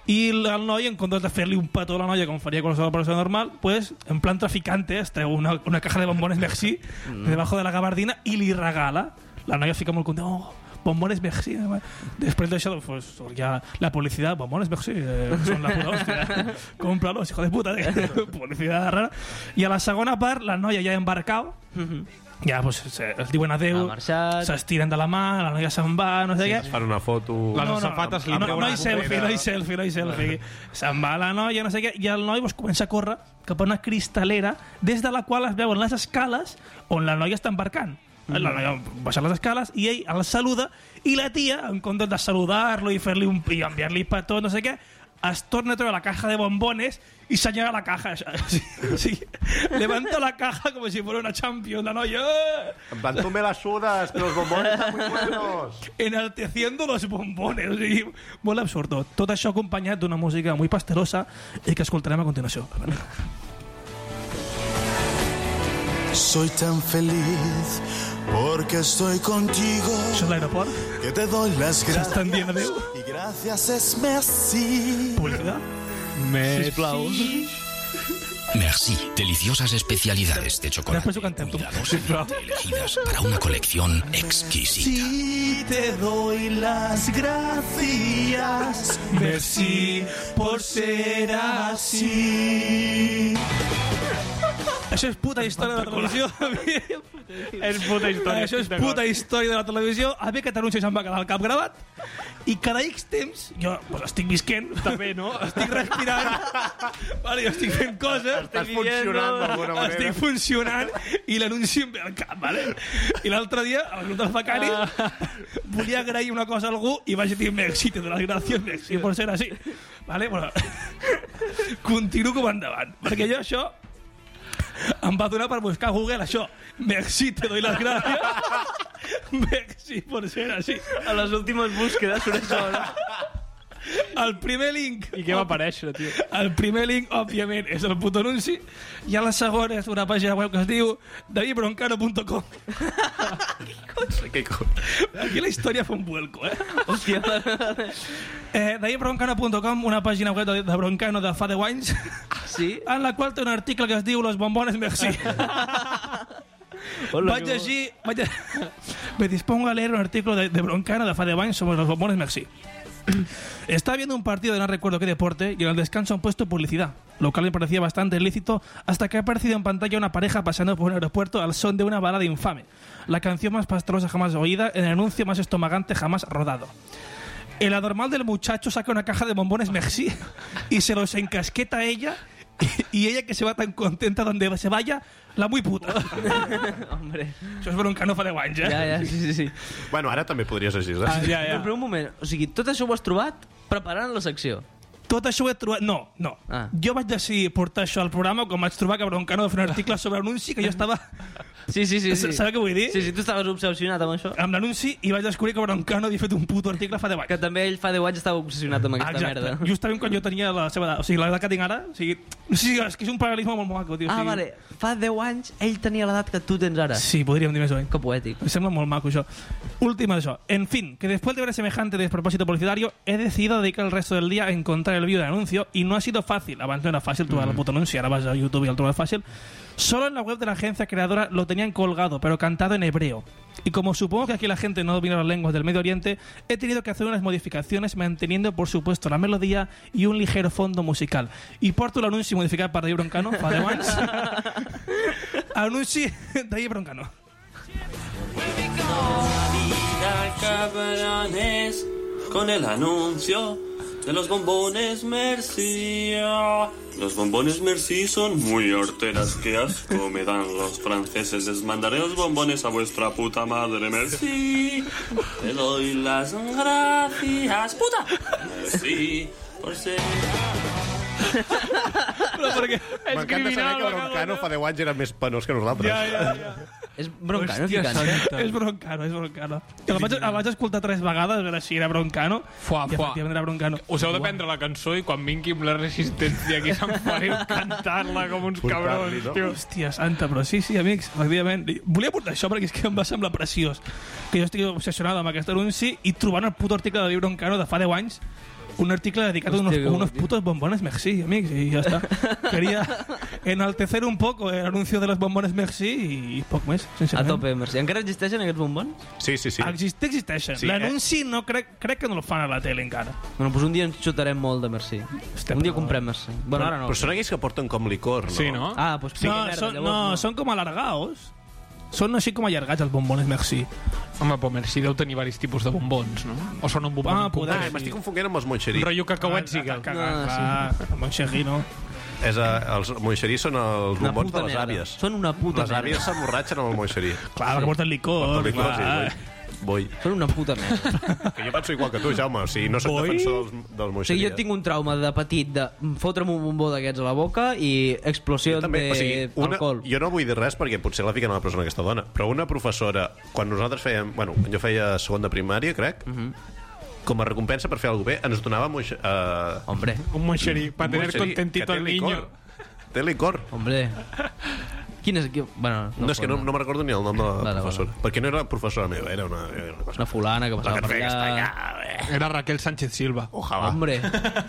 B: I l- el noi, en comptes de fer-li un petó a la noia com faria qualsevol persona normal, pues, en plan traficante, es treu una, una caja de bombones Merci (laughs) mm. debajo de la gabardina i li regala. La noia fica molt contenta. Oh, bombones Merci. Després d'això, pues, ja la publicitat, bombones Merci, eh, són la puta (laughs) hòstia. Cómpralos, hijo de puta. (laughs) publicitat rara. I a la segona part, la noia ja ha embarcat, ja, pues, se, es diuen
D: Ha
B: adeu,
D: marxat.
B: s'estiren de la mà, la noia se'n va, no sé sí, què.
A: Fan una foto...
C: Uh, Les safates li
B: no, no,
C: treuen
B: no,
C: la
B: hi selfie, no hi selfie, no hi selfie. Se'n va la noia, no sé què, i el noi pues, comença a córrer cap a una cristalera des de la qual es veuen les escales on la noia està embarcant. La noia baixa les escales i ell el saluda i la tia, en comptes de saludar-lo i fer-li un i enviar-li petó, no sé què, es torna a treure la caja de bombones i senyala la caja. (laughs) O sigui, o sigui, levanta la caja com si fos una Champions, la noia... "Eh!"
A: En plan, tu me las sudas, que los bombones están muy buenos.
B: enalteciendo los bombones. O sigui, molt absurd tot. Tot això acompanyat d'una música molt pasterosa i que escoltarem a continuació.
H: Soy tan feliz
E: Porque estoy contigo,
B: Això és l'aeroport.
E: que te doy las
B: S'estan dient
E: gracias.
B: adéu.
E: Y gracias es Messi.
B: Publicitat.
C: Més...
D: Sisplau.
H: Merci, deliciosas especialidades de chocolate.
B: Después lo cantamos.
H: cuidadosamente elegidas para una colección exquisita.
E: Y te doy las gracias.
B: Merci por ser así. Això és puta història de la televisió.
C: És puta història.
B: Això és
C: estic
B: puta
C: d'acord.
B: història de la televisió. A bé que t'anuncio se'm va quedar el cap gravat. I cada X temps, jo pues, estic visquent, també, no?
C: (laughs)
B: Estic respirant,
A: (laughs)
B: vale, jo estic fent coses.
A: Estàs funcionant d'alguna manera.
B: Estic funcionant i l'anunci em ve al cap, vale? I l'altre dia, al grup dels becaris,
A: Ah.
B: volia agrair una cosa a algú i vaig dir, Merci, te doy las gracias, Merci, por ser així. Vale? Bueno, (laughs) continuo com endavant. Perquè jo això em va donar per buscar a Google això. Merci, te doy las gracias. (laughs) Merci, por ser així.
D: A les últimes búsquedes surt això. no?
B: El primer link...
C: I què va aparèixer, tio?
B: El primer link, òbviament, és el puto anunci i a la segona és una pàgina web que es diu davidbroncano.com Aquí la història fa un vuelco, eh?
D: Hòstia. (laughs)
B: eh davidbroncano.com, una pàgina web de, de Broncano de fa 10 anys
D: Sí? (laughs)
B: en la qual té un article que es diu Los bombones merci.
D: Hola,
B: vaig
D: que bo.
B: llegir... (laughs) Vaig... a- Me dispongo a leer un artículo de, de Broncano de Fade Bain sobre los bombones (clears throat) Merci. Estaba viendo un partido de no recuerdo qué deporte y en el descanso han puesto publicidad, lo cual me parecía bastante lícito hasta que ha aparecido en pantalla una pareja pasando por un aeropuerto al son de una balada infame, la canción más pastrosa jamás oída, el anuncio más estomagante jamás rodado. El anormal del muchacho saca una caja de bombones Merci (laughs) y se los encasqueta a ella y ella que se va tan contenta donde se vaya, la muy puta. (laughs)
D: Hombre.
B: Això és broncano fa 10 anys, eh?
D: Ja, ja, sí, sí, sí.
A: Bueno, ara també podries eh? així, saps?
C: Ah, ja, ja.
D: Però, però un moment, o sigui, tot això ho has trobat preparant la secció.
B: Tot això ho he trobat... No, no.
D: eh. Ah.
B: Jo vaig decidir portar això al programa quan vaig trobar que Broncano va fer un article sobre anunci que jo estava
D: Sí, sí, sí. sí.
B: Saps què vull dir?
D: Sí, sí, tu estaves obsessionat amb això.
B: amb l'anunci i vaig descobrir que Broncano havia fet un puto article fa 10
D: Que
B: anys.
D: també ell fa 10 anys estava obsessionat amb aquesta merda.
B: Justament quan jo tenia la seva edat. O sigui, l'edat que tinc ara... O sigui, sí, és que és un paral·lelisme molt maco, tio. o
D: Ah,
B: sigui,
D: vale. Fa 10 anys ell tenia l'edat que tu tens ara.
B: Sí, podríem dir més o menys.
D: Que poètic.
B: Me sembla molt maco això. Última això. En fin, que después de ver semejante despropósito publicitario, he decidido dedicar el resto del día a encontrar el vídeo del anuncio y no ha sido fácil. Antes no era fácil, tú vas al puto anuncio, ahora vas a YouTube y al es fácil. Solo en la web de la agencia creadora lo tenían colgado, pero cantado en hebreo. Y como supongo que aquí la gente no domina las lenguas del Medio Oriente, he tenido que hacer unas modificaciones manteniendo, por supuesto, la melodía y un ligero fondo musical. Y porto el anuncio modificar para Dave Broncano, para Evans. anuncio de Dave Broncano.
I: Cabrones, con el anuncio de los bombones Merci. Los bombones Merci son muy horteras, que asco me dan los franceses. Les mandaré los bombones a vuestra puta madre Merci. Te doy las gracias, puta. Merci. Por ser...
B: Però perquè...
A: M'encanta saber que Broncano fa 10 anys era més penós que nosaltres.
B: Ja, ja, ja.
D: És bronca, no? eh?
C: Hòstia
D: Ficant.
C: santa.
B: És broncano, és broncano. Que el vaig, el vaig escoltar tres vegades, a veure si era broncano.
C: Fuà,
B: I
C: fuà.
B: efectivament era broncano.
C: Us heu de prendre la cançó i quan vingui amb la resistència aquí se'n (laughs) fareu cantar-la com uns
A: Portar-li,
C: cabrons,
A: no?
C: tio.
B: Hòstia santa, però sí, sí, amics, efectivament. Volia portar això perquè és que em va semblar preciós. Que jo estic obsessionat amb aquest anunci i trobant el puto article de David Broncano de fa 10 anys un article dedicat a unos,
D: Hòstia, que
B: unos
D: bo, tio.
B: putos bombones Merci, amics, y ya
D: (laughs)
B: está. Quería enaltecer un poco el anuncio de los bombones Merci y poc més,
D: A
B: sincerament.
D: tope, merci. Encara existeixen aquests bombons?
A: Sí, sí, sí.
B: Exist existeixen.
A: Sí,
B: Sí,
A: eh?
B: L'anunci no crec, crec que no el fan a la tele encara.
D: Bueno, doncs un dia ens xutarem molt de merci.
B: Estem
D: un dia
B: a-
D: comprem merci. Bueno, ara no.
A: Però són aquells que porten com licor, no?
C: Sí, no?
D: Ah, doncs
B: No,
D: puta merda,
B: són,
D: llavors
B: no, són com alargaos. Són així com allargats els bombones, merci.
C: Home, però Merci deu tenir diversos tipus de bombons, no? O són un bombon
B: Ah,
C: en concret?
A: Ah, m'estic confonent amb els
C: Un
A: Moncherí.
C: rotllo cacauet sí que...
B: Ah, sí. Amb un xerrino.
A: És, eh, els Moncherí són els
D: Una
A: bombons
D: puta
A: de les
D: merda.
A: àvies.
D: Són una puta
A: Les àvies
D: merda. Oh,
A: s'emborratxen amb el Moncherí.
B: Clar, sí. que porten licor.
A: Porten licor,
B: clar.
A: sí, boi. Boi.
D: Són una puta merda.
A: (laughs) Que jo penso igual que tu, Jaume. O sigui, no soc
B: Boi?
A: defensor dels, dels
D: O sigui,
A: Moncherí.
D: jo tinc un trauma de petit de fotre'm un bombó d'aquests a la boca i explosió
A: també,
D: de
A: o sigui, una,
D: alcohol.
A: jo no vull dir res perquè potser la fiquen a la presó aquesta dona, però una professora, quan nosaltres fèiem... Bueno, quan jo feia segon de primària, crec, com a recompensa per fer alguna bé, ens donava... moix- Eh,
D: Hombre,
C: Un monxerí, per tenir
A: Moncherí, que
C: contentito
A: té
C: al
A: licor.
C: niño.
A: Té licor.
D: hombre. Quin és? Qui... Bueno,
A: No, és que no, no me'n recordo ni el nom de la
D: vale.
A: professora. Perquè no era professora meva, era una, era una cosa.
D: Una fulana que
A: La
D: passava
A: que
D: per
A: feia
D: allà.
A: allà.
C: Era Raquel Sánchez Silva.
A: Ojalà. (laughs)
D: Hombre,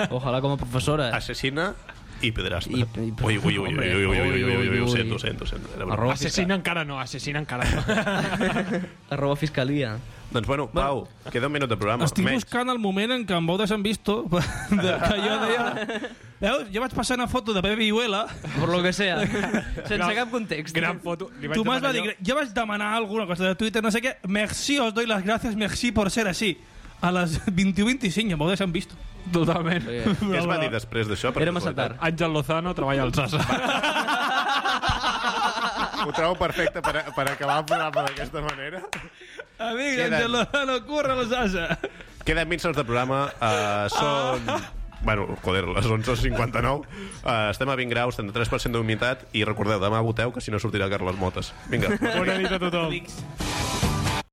D: ojalà com a professora.
A: Assassina i pederasta.
D: I- i-
A: Ui, ui, ui, ui, ui, ui, ui, ui, ui, ui, ui, ho
D: Ui.
A: sento, ho sento, ho sento. Era broma.
D: Arroba,
C: Assassina encara no, assassina encara (laughs) no.
D: fiscal... Arroba fiscalia.
A: Doncs bueno, Pau, queda un minut de programa.
B: Estic
A: Menys.
B: buscant el moment en què em vau deixar en visto, (laughs) de, que jo deia... Veus, jo vaig passar una foto de Pepe Vihuela,
D: Por lo que
C: (laughs)
D: sea. Sense cap context.
C: Gran foto. Li vaig
B: Tomàs va dir...
C: demanar jo-
B: Jo vaig demanar alguna cosa de Twitter, no sé què. Merci, os doy las gracias, merci por ser així. A les 21.25 em vau deixar en visto.
C: Totalment.
A: Què es va dir després d'això? per
D: Era massa
A: casualitat?
C: Àngel Lozano treballa al Sasa.
A: Ho trobo perfecte per, a- per acabar el programa d'aquesta manera.
B: Amic,
A: Queden.
B: Angelo, no corre la sasa.
A: Queden 20 minuts de programa. Uh, són... Bueno, joder, les 11.59. Uh, estem a 20 graus, 33% d'humitat, i recordeu, demà voteu, que si no sortirà Carles Motes. Vinga.
C: Bona nit a tothom.
D: Amics.